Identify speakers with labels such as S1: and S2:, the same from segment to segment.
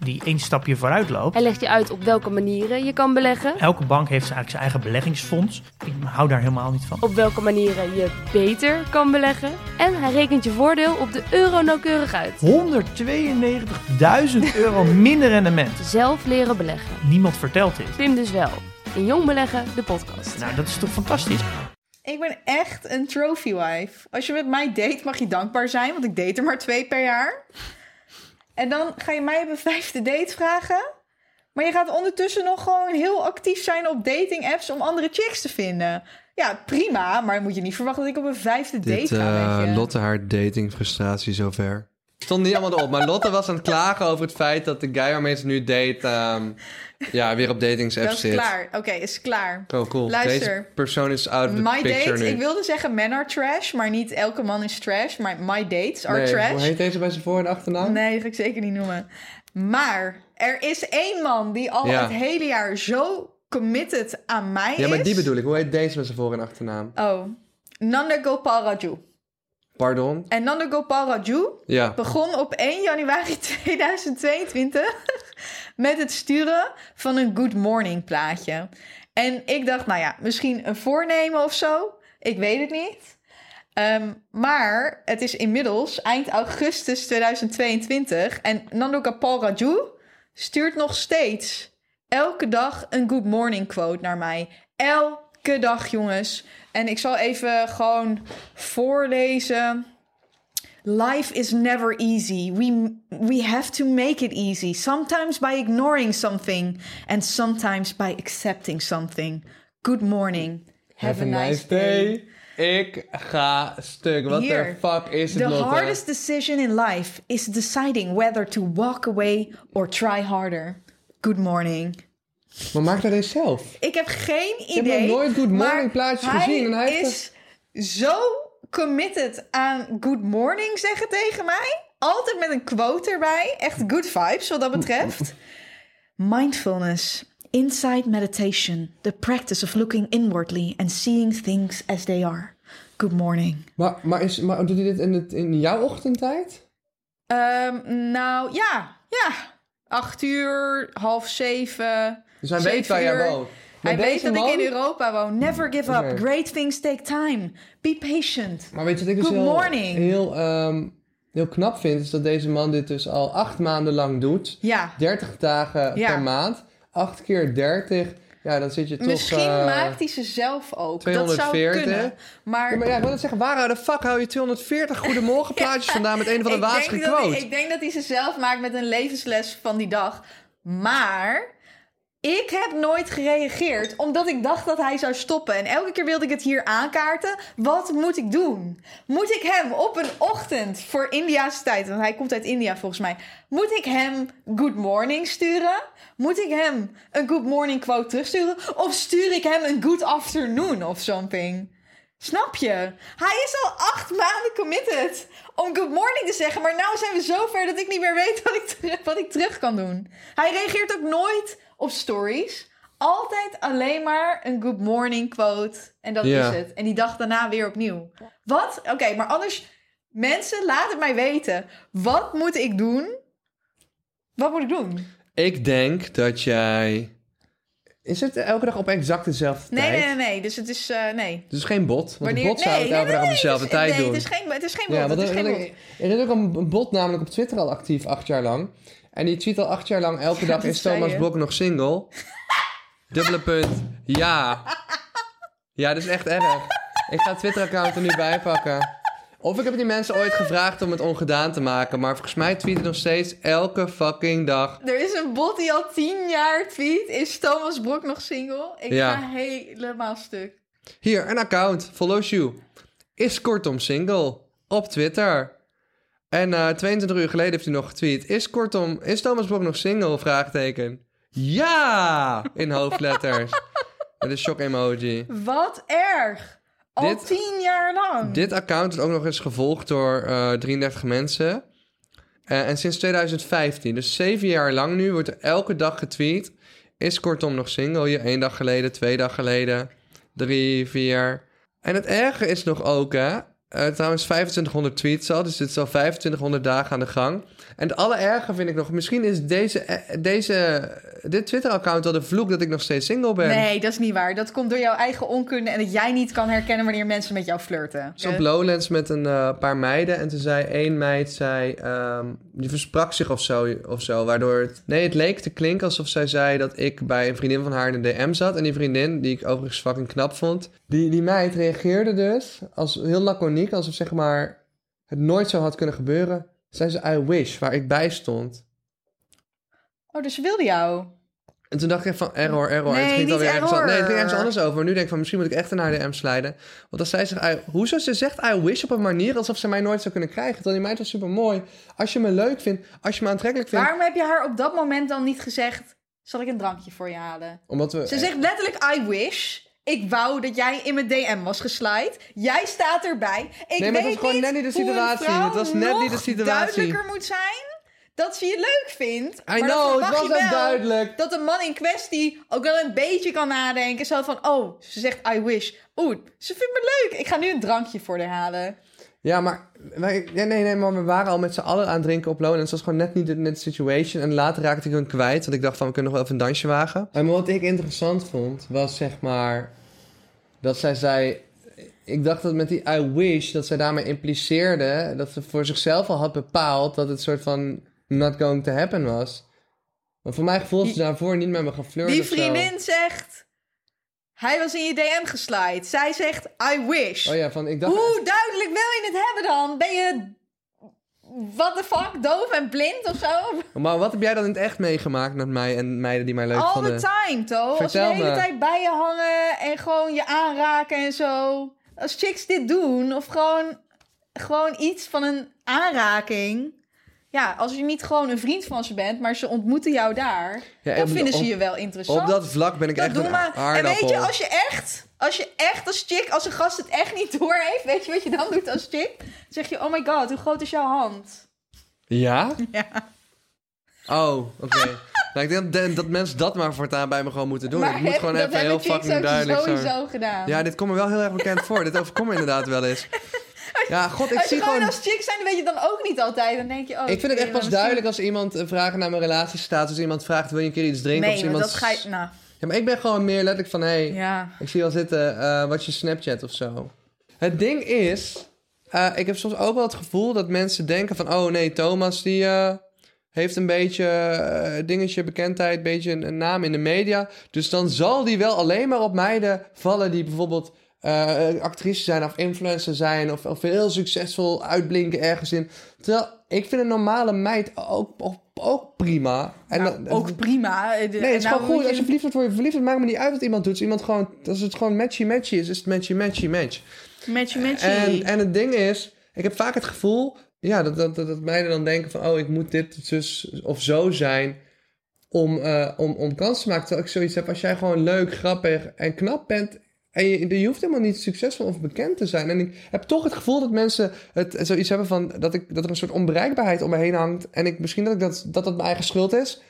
S1: die één stapje vooruit loopt.
S2: Hij legt je uit op welke manieren je kan beleggen,
S1: Elke bank heeft eigenlijk zijn eigen beleggingsfonds. Ik hou daar helemaal niet van.
S2: op welke manieren je beter kan beleggen en hij rekent je voordeel op de euro nauwkeurig uit.
S1: 192.000 euro minder rendement.
S2: Zelf leren beleggen.
S1: Niemand vertelt dit.
S2: Pim dus wel. In Jong Beleggen, de podcast.
S1: Nou, dat is toch fantastisch?
S3: Ik ben echt een trophy wife. Als je met mij date, mag je dankbaar zijn, want ik date er maar twee per jaar. En dan ga je mij op een vijfde date vragen. Maar je gaat ondertussen nog gewoon heel actief zijn op dating apps om andere chicks te vinden. Ja, prima, maar moet je niet verwachten dat ik op een vijfde date
S4: Dit
S3: ga.
S4: eh,
S3: weet je.
S4: Lotte haar datingfrustratie zover. Stond niet allemaal erop, maar Lotte was aan het klagen over het feit dat de guy waarmee ze nu date, ehm, ja, weer op
S3: Dat
S4: datingsapps
S3: is
S4: zit.
S3: klaar. Oké, is klaar.
S4: Oh, cool. Deze
S3: Luister.
S4: persoon is out of the
S3: My
S4: picture
S3: date,
S4: nu.
S3: ik wilde zeggen men are trash, maar niet elke man is trash. Maar my dates are
S4: nee, Hoe
S3: trash.
S4: heet deze bij zijn voor- en achternaam?
S3: Nee, dat ga ik zeker niet noemen. Maar er is één man die al
S4: Ja.
S3: het hele jaar zo committed aan mij is.
S4: Ja, maar die bedoel ik. Hoe heet deze bij zijn voor- en achternaam?
S3: Oh, Nanda Gopal Raju.
S4: Pardon?
S3: En Nanda Gopal Raju
S4: Ja.
S3: begon op 1 januari 2022 met het sturen van een good morning plaatje. En ik dacht, nou ja, misschien een voornemen of zo. Ik weet het niet. Ehm, maar het is inmiddels eind augustus 2022 en Nando Kapal Raju stuurt nog steeds elke dag een good morning quote naar mij. Elke dag, jongens. En ik zal even gewoon voorlezen. Life is never easy. We, we have to make it easy, sometimes by ignoring something and sometimes by accepting something. Good morning. Have, a nice, day.
S4: Ik ga stuk. Wat de
S3: Hier.
S4: fuck is het,
S3: The
S4: Lotte?
S3: hardest decision in life is deciding whether to walk away or try harder. Good morning.
S4: Maar maak dat eens zelf.
S3: Ik heb geen idee.
S4: heb nog nooit Good Morning
S3: maar
S4: plaatjes
S3: hij
S4: gezien en hij heeft
S3: is zo committed aan good morning zeggen tegen mij. Altijd met een quote erbij. Echt good vibes wat dat betreft. Mindfulness. Inside meditation. The practice of looking inwardly and seeing things as they are. Good morning.
S4: Maar, maar, is, maar doet hij dit in, het, in jouw ochtendtijd?
S3: Ehm, nou ja, ja. Acht uur, half zeven.
S4: Dus hij
S3: zeven
S4: weet waar jij
S3: uur.
S4: woont. Maar
S3: Hij weet
S4: deze
S3: dat ik
S4: man-
S3: in Europa woon. Never give up.
S4: Oké.
S3: Great things take time. Be patient.
S4: Maar weet je wat ik dus
S3: Good
S4: heel,
S3: morning.
S4: heel, ehm, heel knap vind? Is dat deze man dit dus al acht maanden lang doet.
S3: Ja.
S4: 30 dagen
S3: Ja.
S4: per maand. Acht keer 30. Ja, dan zit je toch...
S3: Misschien
S4: eh,
S3: maakt hij ze zelf ook. Dat zou
S4: 240.
S3: kunnen.
S4: Ja,
S3: Maar,
S4: maar ja, ik wil net zeggen, waar de fuck hou je 240 goedemorgen plaatjes vandaan met een van de
S3: ik
S4: waas
S3: denk dat hij-
S4: gequote?
S3: Ik denk dat hij ze zelf maakt met een levensles van die dag. Maar ik heb nooit gereageerd omdat ik dacht dat hij zou stoppen. En elke keer wilde ik het hier aankaarten. Wat moet ik doen? Moet ik hem op een ochtend voor India's tijd, want hij komt uit India volgens mij, moet ik hem good morning sturen? Moet ik hem een good morning quote terugsturen? Of stuur ik hem een good afternoon of something? Snap je? Hij is al acht maanden committed om good morning te zeggen. Maar nou zijn we zover dat ik niet meer weet wat ik, ter- wat ik terug kan doen. Hij reageert ook nooit op stories. Altijd alleen maar een good morning quote. En dat
S4: Ja.
S3: is het. En die dag daarna weer opnieuw. Wat? Oké, maar anders... Mensen, laat het mij weten. Wat moet ik doen? Wat moet ik doen?
S4: Ik denk dat jij... Is het elke dag op exact dezelfde
S3: Nee,
S4: tijd?
S3: nee, nee. nee. Dus het is... eh, nee.
S4: Dus geen bot, want een bot zou
S3: nee,
S4: het
S3: nee, nee,
S4: elke dag op
S3: nee,
S4: dezelfde
S3: het is-
S4: tijd
S3: nee,
S4: doen.
S3: Het is geen, het is geen bot. het
S4: want
S3: is
S4: er-
S3: geen
S4: want
S3: bot.
S4: er er is ook een een bot namelijk op Twitter al actief, acht jaar lang. En die tweet al acht jaar lang, elke dag
S3: dat
S4: is
S3: zei
S4: Thomas
S3: je.
S4: Blok nog single. Dubbele punt, ja. Ja, dat is echt erg. Ik ga het Twitter-account er nu bij pakken. Of ik heb die mensen ooit gevraagd om het ongedaan te maken. Maar volgens mij tweeten nog steeds elke fucking dag.
S3: Er is een bot die al tien jaar tweet. Is Thomas Brok nog single? Ik
S4: Ja.
S3: ga helemaal stuk.
S4: Hier, een account. Follows you. Is kortom single. Op Twitter. En eh, 22 uur geleden heeft hij nog getweet. Is kortom, is Thomas Blok nog single? Vraagteken. Ja! In hoofdletters. Met een shock emoji.
S3: Wat erg! Al
S4: Dit-
S3: tien jaar lang.
S4: Dit account is ook nog eens gevolgd door eh, 33 mensen. Eh, en sinds 2015, dus zeven jaar lang nu, wordt er elke dag getweet. Is kortom nog single? Hier één dag geleden, twee dag geleden, drie, vier. En het erge is nog ook, hè. eh, trouwens, 2500 tweets al, dus dit is al 2500 dagen aan de gang. En het allererge vind ik nog, misschien is deze, eh, deze, dit Twitter-account al de vloek dat ik nog steeds single ben.
S3: Nee, dat is niet waar. Dat komt door jouw eigen onkunde en dat jij niet kan herkennen wanneer mensen met jou flirten.
S4: Ik zat op Lowlands met een eh, paar meiden. En toen zei één meid, zei, ehm, die versprak zich of zo, of zo. Waardoor het... Nee, het leek te klinken alsof zij zei dat ik bij een vriendin van haar in de DM zat. En die vriendin, die ik overigens fucking knap vond... Die, die meid reageerde dus als heel laconiek. Alsof zeg maar het nooit zo had kunnen gebeuren. Zei ze, I wish, waar ik bij stond.
S3: Oh, dus ze wilde jou.
S4: En toen dacht ik van error, error.
S3: Nee,
S4: het
S3: niet
S4: ergens anders. Nee, het ging ergens
S3: error.
S4: anders over. Maar nu denk ik van misschien moet ik echt naar de M slijden. Want als zij zegt, I- hoezo? Ze zegt I wish op een manier alsof ze mij nooit zou kunnen krijgen. Terwijl die meid was super mooi. Als je me leuk vindt, als je me aantrekkelijk vindt.
S3: Waarom heb je haar op dat moment dan niet gezegd... zal ik een drankje voor je halen?
S4: Omdat we.
S3: Ze zegt letterlijk I wish... Ik wou dat jij in mijn DM was geslide. Jij staat erbij. Ik
S4: Nee, maar
S3: weet
S4: het was gewoon
S3: niet
S4: net niet de
S3: hoe een
S4: situatie.
S3: vrouw
S4: Het was net
S3: nog
S4: niet de situatie.
S3: duidelijker moet zijn dat ze je leuk vindt.
S4: I know, het was
S3: ook
S4: ook duidelijk.
S3: Dat een man in kwestie ook wel een beetje kan nadenken. Zo van, oh, ze zegt I wish. Oeh, ze vindt me leuk. Ik ga nu een drankje voor haar halen.
S4: Ja, maar. Wij, ja, nee, nee, maar we waren al met z'n allen aan het drinken op loon. En het was gewoon net niet de net de situation. En later raakte ik hun kwijt. Want ik dacht van we kunnen nog wel even een dansje wagen. En wat ik interessant vond, was zeg maar. Dat zij zei. Ik dacht dat met die I wish, dat zij daarmee impliceerde. dat ze voor zichzelf al had bepaald dat het soort van. not going to happen was. Want voor mijn gevoel is ze daarvoor niet met me gaan flirten.
S3: Die
S4: of zo.
S3: vriendin zegt, hij was in je DM geslide. Zij zegt I wish.
S4: Oh ja, van ik dacht.
S3: Hoe duidelijk wil je het hebben dan? Ben je, what the fuck, doof en blind of zo?
S4: Maar wat heb jij dan in het echt meegemaakt met mij en meiden die mij leuk
S3: All
S4: vonden?
S3: the time, toch? Als ze de
S4: Vertel
S3: hele
S4: me.
S3: tijd bij je hangen en gewoon je aanraken en zo. Als chicks dit doen, of gewoon, gewoon iets van een aanraking. Ja, als je niet gewoon een vriend van ze bent, maar ze ontmoeten jou daar, dan
S4: Ja, en
S3: vinden ze
S4: op-
S3: je wel interessant.
S4: Op dat vlak ben ik
S3: Dat
S4: echt
S3: doen
S4: een
S3: we. En
S4: aardappel.
S3: weet je, als je echt, als je echt als chick, als een gast het echt niet door heeft, weet je wat je dan doet als chick? Dan zeg je, oh my god, hoe groot is jouw hand?
S4: Ja?
S3: Ja.
S4: Oh, oké. nou, ik denk dat, dat mensen dat maar voortaan bij me gewoon moeten doen.
S3: maar
S4: ik moet
S3: heb-
S4: gewoon
S3: dat
S4: even heel
S3: hebben chicks
S4: fucking
S3: ook
S4: duidelijk
S3: sowieso
S4: zijn.
S3: gedaan.
S4: Ja, dit komt me wel heel erg bekend voor. Dit overkomt me inderdaad wel eens. Ja, god, ik
S3: als je
S4: zie
S3: gewoon
S4: gewoon...
S3: als chick zijn, dan weet je het dan ook niet altijd. Dan denk je, oh,
S4: Ik vind het echt pas
S3: misschien-
S4: duidelijk als iemand eh, vragen naar mijn relatiestatus. Iemand vraagt, wil je een keer iets drinken?
S3: Nee,
S4: of
S3: want
S4: als
S3: dat
S4: iemand...
S3: ga je... Nou,
S4: Ja, maar ik ben gewoon meer letterlijk van, hey,
S3: ja.
S4: Ik zie al zitten, eh, wat je Snapchat of zo. Het ding is, eh, ik heb soms ook wel het gevoel dat mensen denken van... oh nee, Thomas die eh, heeft een beetje eh, dingetje, bekendheid, een beetje een, een naam in de media. Dus dan zal die wel alleen maar op meiden vallen die bijvoorbeeld... eh, actrice zijn of influencer zijn of, of heel succesvol uitblinken ergens in. Terwijl ik vind een normale meid ook, ook, ook prima. En
S3: Nou,
S4: dan-
S3: ook prima. Eh, de-
S4: Nee, het is
S3: nou
S4: gewoon goed.
S3: moet
S4: Als je verliefd wordt, word je verliefd. Het maakt me niet uit wat iemand doet. Als, iemand gewoon, als het gewoon matchy-matchy is, is het matchy-matchy-match.
S3: Matchy, matchy.
S4: En, en het ding is, ik heb vaak het gevoel... Ja, dat, dat, dat, dat meiden dan denken van... Oh, ik moet dit zus of zo zijn om, eh, om, om kans te maken. Terwijl ik zoiets heb, als jij gewoon leuk, grappig en knap bent... En je, je hoeft helemaal niet succesvol of bekend te zijn. En ik heb toch het gevoel dat mensen het, het zoiets hebben van... Dat, ik, dat er een soort onbereikbaarheid om me heen hangt. En ik, misschien dat, ik dat, dat dat mijn eigen schuld is.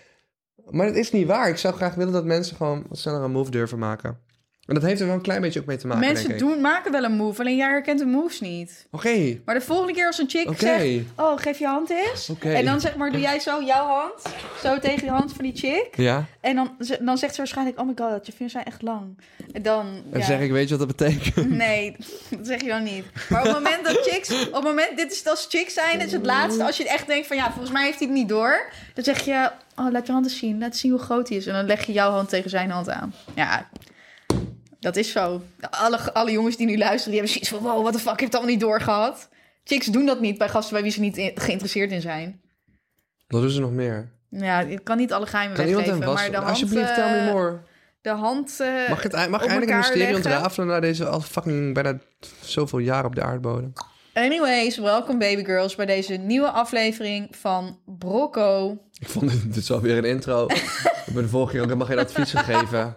S4: Maar dat is niet waar. Ik zou graag willen dat mensen gewoon wat sneller een move durven maken. En dat heeft er wel een klein beetje ook mee te maken,
S3: Mensen
S4: denk ik.
S3: doen, maken wel een move, alleen jij herkent de moves niet.
S4: Oké,
S3: Maar de volgende keer als een chick
S4: Oké.
S3: zegt... Oh, geef je hand eens.
S4: oké.
S3: En dan zeg maar, doe jij zo jouw hand. Zo tegen de hand van die chick.
S4: Ja,
S3: En dan, ze- dan zegt ze waarschijnlijk... Oh my god, je vingers zijn echt lang. En dan...
S4: en
S3: ja.
S4: zeg ik, weet je wat dat betekent?
S3: Nee, dat zeg je dan niet. Maar op het moment dat chicks... Op het moment, dit is als chicks zijn, is het laatste. Als je echt denkt van ja, volgens mij heeft hij het niet door. Dan zeg je, oh, laat je hand eens zien. Laat zien hoe groot hij is. En dan leg je jouw hand tegen zijn hand aan. Ja, dat is zo. Alle, alle jongens die nu luisteren, die hebben zoiets van... Wow, wat de fuck, ik heb het allemaal niet doorgehad. Chicks doen dat niet bij gasten bij wie ze niet in- geïnteresseerd in zijn.
S4: Dat is er nog meer.
S3: Ja, ik kan niet alle geheimen
S4: Kan iemand
S3: weggeven,
S4: een was...
S3: maar de hand...
S4: Alsjeblieft,
S3: eh,
S4: tell me more.
S3: De hand... eh,
S4: Mag, het, ei- mag
S3: op
S4: eindelijk een
S3: elkaar
S4: mysterie
S3: leggen.
S4: ontrafelen na deze al fucking bijna zoveel jaren op de aardbodem?
S3: Anyways, welkom baby girls bij deze nieuwe aflevering van Brocco.
S4: Ik vond dit, dit is alweer een intro. ik ben de vorige keer ook helemaal geen advies gegeven.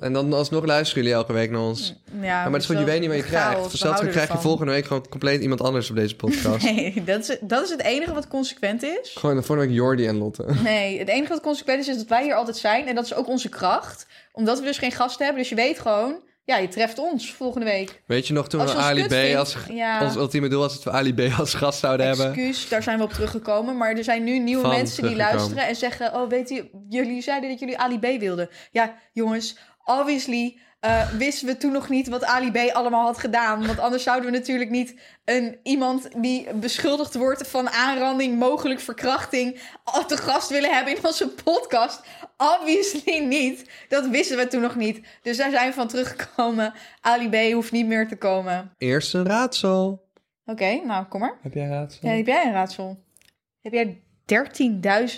S4: En dan alsnog luisteren jullie elke week naar ons.
S3: Ja,
S4: Ja, maar het is goed, je weet niet wat je krijgt. Dus zelfs dan krijg je volgende week gewoon compleet iemand anders op deze podcast.
S3: Nee, dat is, dat is het enige wat consequent is.
S4: Gewoon de volgende week Jordi en Lotte.
S3: Nee, het enige wat consequent is, is dat wij hier altijd zijn. En dat is ook onze kracht. Omdat we dus geen gasten hebben. Dus je weet gewoon, ja, je treft ons volgende week.
S4: Weet je nog toen
S3: Als
S4: we
S3: je ons
S4: Ali
S3: kut
S4: B
S3: vindt,
S4: als...
S3: ja.
S4: Ons ultieme doel was dat we Ali B als gast zouden hebben.
S3: Excuus, daar zijn we op teruggekomen. Maar er zijn nu nieuwe
S4: Van
S3: mensen die
S4: teruggekomen.
S3: luisteren en zeggen... Oh, weet je, jullie zeiden dat jullie Ali B wilden. Ja, jongens, obviously eh, wisten we toen nog niet wat Ali B allemaal had gedaan. Want anders zouden we natuurlijk niet een, iemand die beschuldigd wordt van aanranding... mogelijk verkrachting al te gast willen hebben in onze podcast. Obviously niet. Dat wisten we toen nog niet. Dus daar zijn we van teruggekomen. Ali B hoeft niet meer te komen.
S4: Eerst een raadsel.
S3: Oké, nou, kom maar.
S4: Heb jij raadsel?
S3: Ja, heb jij een raadsel? Heb jij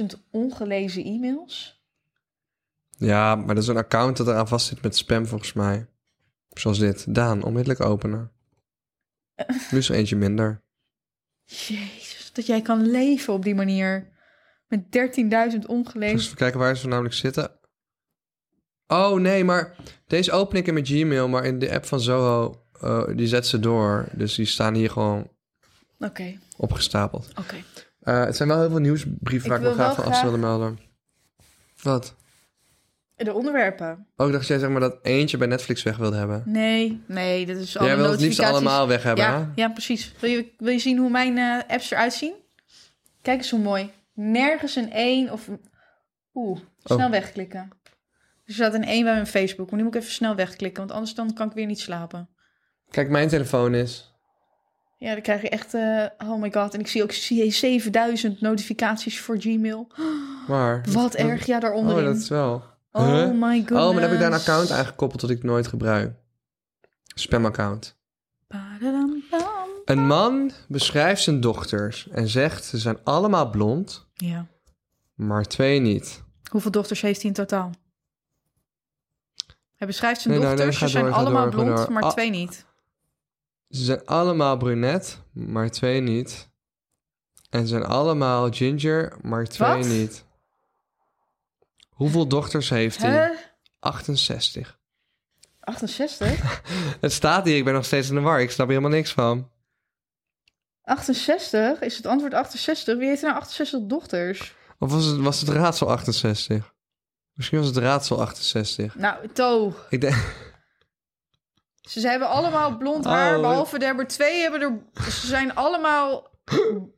S3: 13.000 ongelezen e-mails?
S4: Ja, maar dat is een account dat eraan vast zit met spam volgens mij. Zoals dit. Daan, onmiddellijk openen. Nu is er eentje minder.
S3: Jezus, dat jij kan leven op die manier. Met 13.000
S4: Dus
S3: ongelezen.
S4: even kijken waar ze namelijk zitten. Oh nee, maar deze open ik in mijn Gmail, maar in de app van Zoho, eh, die zet ze door. Dus die staan hier gewoon
S3: Dus- Oké,
S4: opgestapeld.
S3: oké.
S4: Eh, het zijn wel heel veel nieuwsbrieven
S3: Ik
S4: waar ik me
S3: wil
S4: graag
S3: wel
S4: van af
S3: graag-
S4: willen melden. Wat?
S3: De onderwerpen.
S4: Ook dacht jij zeg maar dat eentje bij Netflix weg wilde hebben.
S3: Nee, nee, dat is
S4: jij
S3: allemaal
S4: wil het liefst
S3: notificaties.
S4: allemaal weg hebben, hè?
S3: ja, ja, precies. Wil je, wil je zien hoe mijn eh, apps eruit zien? Kijk eens hoe mooi. Nergens een 1 of... een- Oeh, snel
S4: Oh.
S3: wegklikken. Er staat een 1 bij mijn Facebook. Maar nu moet ik even snel wegklikken, want anders dan kan ik weer niet slapen.
S4: Kijk, mijn telefoon is.
S3: Ja, dan krijg je echt, eh, oh my god. En ik zie ook 7000 notificaties voor Gmail.
S4: Maar.
S3: Wat erg, ja, daaronder.
S4: Oh, dat is wel.
S3: oh
S4: Huh?
S3: my god.
S4: Oh, maar dan heb ik daar een account aan gekoppeld dat ik nooit gebruik. Spam-account. Een man beschrijft zijn dochters en zegt ze zijn allemaal blond,
S3: Ja.
S4: maar twee niet.
S3: Hoeveel dochters heeft hij in totaal? Hij beschrijft zijn
S4: Nee, nou,
S3: dochters.
S4: nee,
S3: ze
S4: ga
S3: zijn
S4: door, ga
S3: allemaal
S4: door, ga
S3: blond,
S4: door.
S3: maar
S4: Ah.
S3: twee niet.
S4: Ze zijn allemaal brunet, maar twee niet. En ze zijn allemaal ginger, maar twee
S3: Wat?
S4: niet. Hoeveel dochters heeft hij?
S3: Hè?
S4: 68.
S3: 68?
S4: Het staat hier, ik ben nog steeds in de war. Ik snap hier helemaal niks van.
S3: 68? Is het antwoord 68? Wie heeft er nou 68 dochters?
S4: Of was het, was het raadsel 68? Misschien was het raadsel 68.
S3: Nou, To.
S4: Ik denk...
S3: Ze ze hebben allemaal blond
S4: Oh,
S3: haar,
S4: wat-
S3: behalve de hebben twee hebben er. Ze zijn allemaal. Oh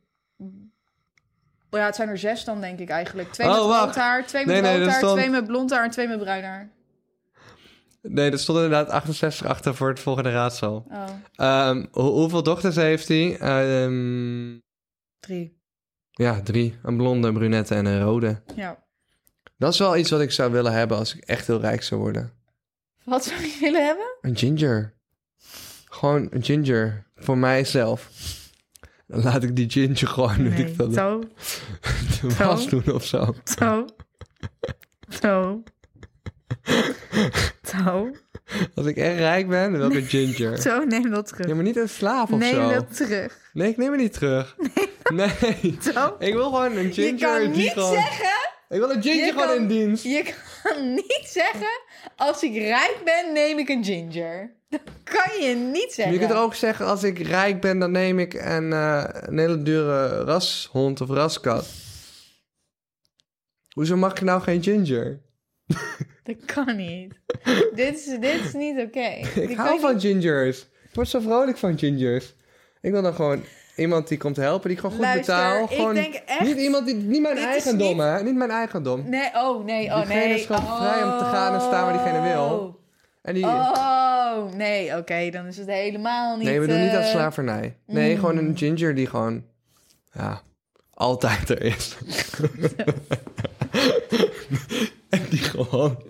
S3: Ja, het zijn er zes dan, denk ik eigenlijk. Twee
S4: Oh,
S3: met rood
S4: wacht.
S3: haar, twee met
S4: Nee, nee,
S3: rood
S4: er
S3: haar,
S4: stond-
S3: twee met blond haar en twee met bruin haar.
S4: Nee, er stond inderdaad 68 achter voor het volgende raadsel.
S3: Oh,
S4: Ehm, hoe- hoeveel dochters heeft hij? Ehm,
S3: drie.
S4: ja, drie. Een blonde, een brunette en een rode.
S3: Ja.
S4: Dat is wel iets wat ik zou willen hebben als ik echt heel rijk zou worden.
S3: Wat zou je willen hebben?
S4: Een ginger. Gewoon een ginger. Voor mijzelf. Dan laat ik die ginger gewoon, weet ik veel, de,
S3: Zo,
S4: de was doen of zo.
S3: zo. Zo. Zo.
S4: Als ik echt rijk ben, dan wil ik een ginger.
S3: Zo, neem dat terug.
S4: Ja, maar niet een slaaf of zo.
S3: terug.
S4: Nee, ik neem me niet terug. Nee.
S3: Zo.
S4: Ik wil gewoon een ginger
S3: Je kan
S4: die
S3: niet
S4: gewoon...
S3: zeggen.
S4: Ik wil een ginger
S3: Je
S4: gewoon
S3: kan-
S4: in dienst.
S3: Je kan niet zeggen, als ik rijk ben, neem ik een ginger. Dat kan je niet zeggen.
S4: Je kunt er ook zeggen, als ik rijk ben, dan neem ik een, eh, een hele dure rashond of raskat. Hoezo mag ik nou geen ginger?
S3: Dat kan niet. dit, is, dit is niet oké.
S4: Ik
S3: Dit kan
S4: hou
S3: je-
S4: van gingers. Ik word zo vrolijk van gingers. Ik wil dan gewoon iemand die komt helpen, die ik gewoon goed
S3: Luister,
S4: betaalt.
S3: ik
S4: Gewoon
S3: denk echt-
S4: Niet, iemand die, niet mijn
S3: Dit is
S4: eigendom,
S3: niet-
S4: hè? Niet mijn eigendom.
S3: Nee, oh nee, oh
S4: Diegene
S3: nee.
S4: is gewoon
S3: oh.
S4: vrij om te gaan en staan waar diegene wil. En die...
S3: Oh, nee, oké, dan is het helemaal niet...
S4: nee, we doen niet aan
S3: eh,
S4: slavernij. Nee, gewoon een ginger die gewoon... Ja, altijd er is. en die gewoon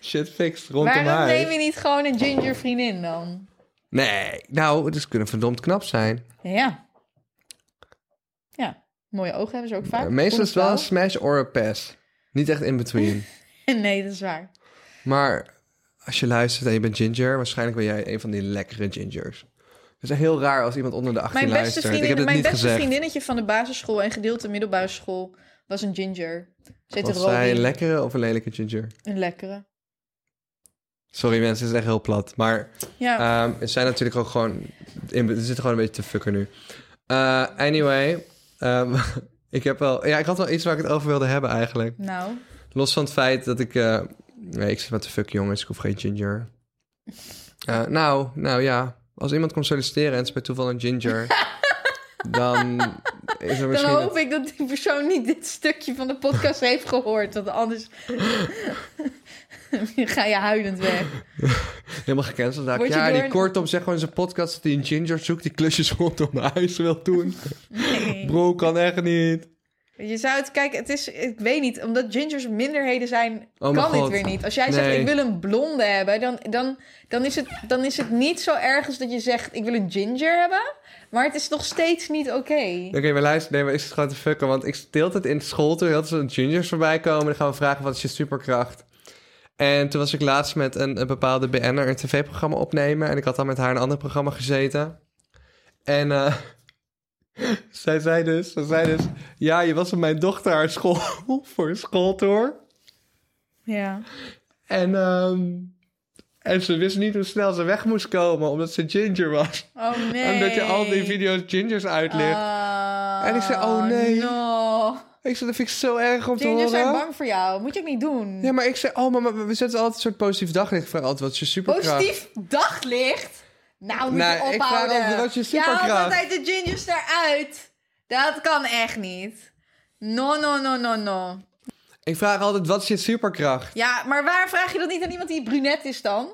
S4: shit fixt rondom
S3: Waarom
S4: haar.
S3: neem je niet gewoon een ginger vriendin dan?
S4: Nee, nou, het is kunnen verdomd knap zijn.
S3: Ja, Ja, mooie ogen hebben ze ook vaak.
S4: Ja, meestal is het wel een
S3: Groenblauw.
S4: smash or een pass. Niet echt in between.
S3: Nee, dat is waar.
S4: Maar als je luistert en je bent ginger, waarschijnlijk ben jij een van die lekkere gingers. Het is echt heel raar als iemand onder de 18
S3: Mijn beste,
S4: luistert. Ik heb
S3: vriendin,
S4: het
S3: mijn
S4: niet
S3: beste
S4: gezegd.
S3: vriendinnetje van de basisschool en gedeelte middelbare school was een ginger. Ze heette
S4: Was zij een
S3: Robin.
S4: lekkere of een lelijke ginger?
S3: Een lekkere.
S4: Sorry mensen, het is echt heel plat. Maar
S3: Ja,
S4: ehm er zijn natuurlijk ook gewoon... In, er zitten gewoon een beetje te fucker nu. Eh, anyway, ehm, ik heb wel... Ja, ik had wel iets waar ik het over wilde hebben eigenlijk.
S3: nou.
S4: Los van het feit dat ik... eh, nee, ik zit met de fuck jongens, ik hoef geen ginger. Eh, nou, nou ja. Als iemand komt solliciteren en het is bij toeval een ginger... dan is er
S3: Dan
S4: misschien...
S3: hoop ik dat die persoon niet dit stukje van de podcast heeft gehoord. Want anders ga je huilend weg.
S4: Helemaal gecanceld. raak.
S3: Word je
S4: Ja,
S3: door
S4: die
S3: een-
S4: kortom zegt gewoon in zijn podcast... dat hij een ginger zoekt die klusjes rondom huis wil doen.
S3: Nee.
S4: Bro, kan echt niet.
S3: Je zou het, kijk, het is, ik weet niet, omdat gingers minderheden zijn,
S4: Oh mijn
S3: kan dit
S4: God.
S3: weer niet. Als jij zegt,
S4: Nee.
S3: ik wil een blonde hebben, dan, dan, dan, is het, dan is het niet zo erg als dat je zegt, ik wil een ginger hebben. Maar het is nog steeds niet oké.
S4: Oké, maar luister, nee, maar ik zit gewoon te fucken. Want ik zit de hele tijd in school toen heel veel juniors voorbij komen. Dan gaan we vragen, wat is je superkracht? En toen was ik laatst met een, een bepaalde BN'er een tv-programma opnemen. En ik had al met haar in een ander programma gezeten. En eh, zij zei dus, zij zei dus... Ja, je was met mijn dochter haar school voor een schooltour.
S3: Ja.
S4: En, ehm, en ze wist niet hoe snel ze weg moest komen, omdat ze ginger was.
S3: Oh nee.
S4: Omdat je al die video's gingers uitlegt.
S3: Ah,
S4: En ik zei, oh, nee.
S3: No.
S4: Ik zei, dat vind ik zo erg om te horen.
S3: Gingers zijn bang voor jou. Moet je ook niet doen.
S4: Ja, maar ik zei, oh, maar maar we zetten altijd een soort positief daglicht. Ik vraag altijd, wat is je superkracht?
S3: Positief daglicht. Nou, moet
S4: Nee,
S3: je
S4: ik
S3: ophouden.
S4: vraag altijd wat je superkracht.
S3: Ja, haalt altijd de gingers eruit. Dat kan echt niet. No, no, no, no, no.
S4: Ik vraag altijd, wat is je superkracht?
S3: Ja, maar waar vraag je dat niet aan iemand die brunet is dan?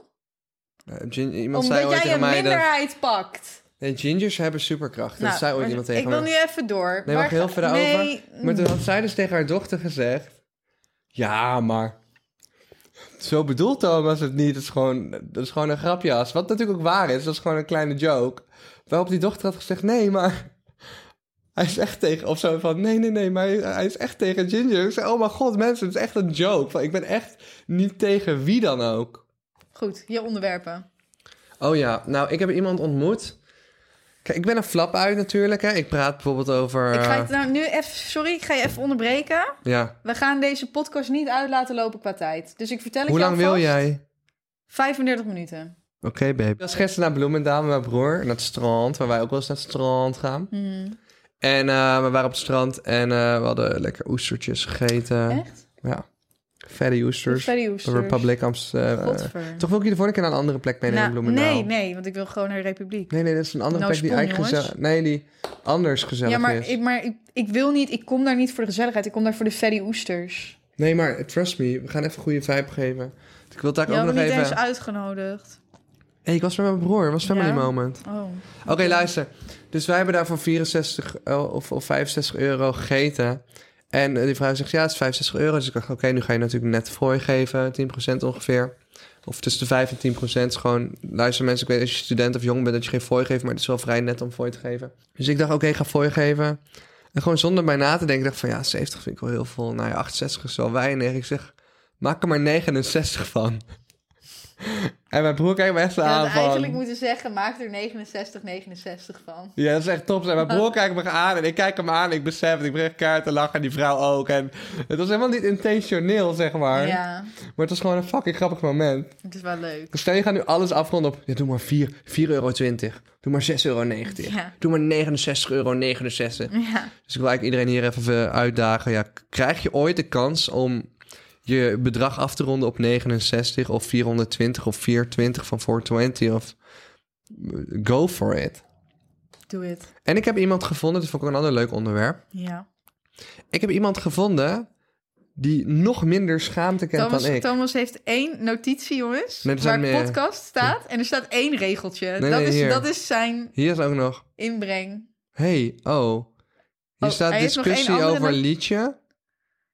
S4: Eh, gin- iemand zei ooit
S3: Omdat jij
S4: tegen
S3: een
S4: mij dat...
S3: minderheid pakt.
S4: Nee, gingers hebben superkracht.
S3: Nou,
S4: dat zei ooit iemand tegen
S3: Ik
S4: mij.
S3: wil nu even door.
S4: Nee,
S3: Waar
S4: mag heel
S3: ga-
S4: verder
S3: nee, mm,
S4: over? Maar toen had zij dus tegen haar dochter gezegd... Ja, maar... Zo bedoelt Thomas het niet. Het is gewoon, dat is gewoon een grapjas. Wat natuurlijk ook waar is. Dat is gewoon een kleine joke. Waarop die dochter had gezegd... Nee, maar... Hij is echt tegen... Of zo van... Nee, nee, nee. Maar hij, hij is echt tegen Ginger. Ik zei... Oh mijn god, mensen. Het is echt een joke. Van, ik ben echt niet tegen wie dan ook.
S3: Goed, je onderwerpen.
S4: Oh ja. Nou, ik heb iemand ontmoet. Kijk, ik ben een flap uit natuurlijk. Hè. Ik praat bijvoorbeeld over...
S3: Ik ga
S4: eh,
S3: het nou nu even... Sorry, ik ga je even onderbreken.
S4: Ja.
S3: We gaan deze podcast niet uit laten lopen qua tijd. Dus ik vertel het
S4: Hoe
S3: je
S4: lang wil
S3: alvast.
S4: jij?
S3: 35 minuten.
S4: Oké, baby. Ik was gisteren naar Bloemendaal met mijn broer, naar het strand, waar wij ook wel eens naar het strand gaan.
S3: Mhm.
S4: En eh, we waren op het strand en eh, we hadden lekker oestertjes gegeten.
S3: Echt?
S4: Ja. Vette oesters.
S3: Freddy
S4: De
S3: Oesters.
S4: Republic Amsterdam. eh,
S3: Godver.
S4: Toch wil ik je de volgende keer naar een andere plek meenemen in
S3: Nou,
S4: Bloemendaal.
S3: nee, nee, want ik wil gewoon naar de Republiek.
S4: Nee, nee, dat is een andere
S3: Nou,
S4: plek die
S3: Spoel,
S4: eigenlijk gezellig...
S3: jongens.
S4: Nee, die anders gezellig
S3: ja, maar,
S4: is.
S3: ik, maar ik, ik wil niet, ik kom daar niet voor de gezelligheid, ik kom daar voor de Ferry Oesters.
S4: Nee, maar trust me, we gaan even een goede vibe geven. Ik wil het daar
S3: Je
S4: ook
S3: hebt
S4: nog
S3: me niet
S4: even...
S3: eens uitgenodigd.
S4: Hey, ik was met mijn broer, het was family
S3: Ja?
S4: moment.
S3: Oh.
S4: Oké, luister. Dus wij hebben daar voor 64 euro of, of 65 euro gegeten. En eh, die vrouw zegt, ja, het is 65 euro. Dus ik dacht, oké, nu ga je natuurlijk net fooi geven, 10% ongeveer. Of tussen de 5 en 10 procent. Is gewoon, luister mensen, ik weet als je student of jong bent dat je geen fooi geeft, maar het is wel vrij net om fooi te geven. Dus ik dacht, oké, ik ga fooi geven. En gewoon zonder bij na te denken, dacht ik van ja, 70 vind ik wel heel veel. Nou ja, 68 is wel weinig. Ik zeg, maak er maar 69 van. en mijn broer kijkt me echt zo
S3: Je
S4: aan
S3: had
S4: van...
S3: eigenlijk moeten zeggen, maak er 69, 69 van.
S4: Ja, dat is echt top. En
S3: Oh.
S4: mijn broer kijkt me aan en ik kijk hem aan. en Ik besef, het. ik ben echt kaart te lachen en die vrouw ook. En het was helemaal niet intentioneel, zeg maar.
S3: Ja,
S4: Maar het was gewoon een fucking grappig moment.
S3: het is wel leuk.
S4: Dus Stel, je gaat nu alles afronden op... Ja, doe maar 4, 4,20 euro. Doe maar 6,90 euro.
S3: Ja.
S4: Doe maar 69,69 euro.
S3: Ja,
S4: Dus ik wil eigenlijk iedereen hier even eh, uitdagen. Ja, k- krijg je ooit de kans om je bedrag af te ronden op 69 of 420 of 420 van 420? Of... eh, Go for it.
S3: doe het.
S4: En ik heb iemand gevonden, dat vond ik ook een ander leuk onderwerp.
S3: Ja.
S4: Ik heb iemand gevonden die nog minder schaamte kent
S3: Thomas,
S4: dan ik.
S3: Thomas heeft één notitie, jongens,
S4: Nee, er
S3: waar
S4: zijn meer.
S3: podcast staat. En er staat één regeltje.
S4: nee,
S3: dat, is,
S4: hier.
S3: dat is zijn
S4: Hier is ook nog,
S3: inbreng.
S4: hey, oh. Hier
S3: Oh,
S4: staat
S3: hij heeft nog
S4: discussie
S3: één andere
S4: over
S3: no-
S4: liedje,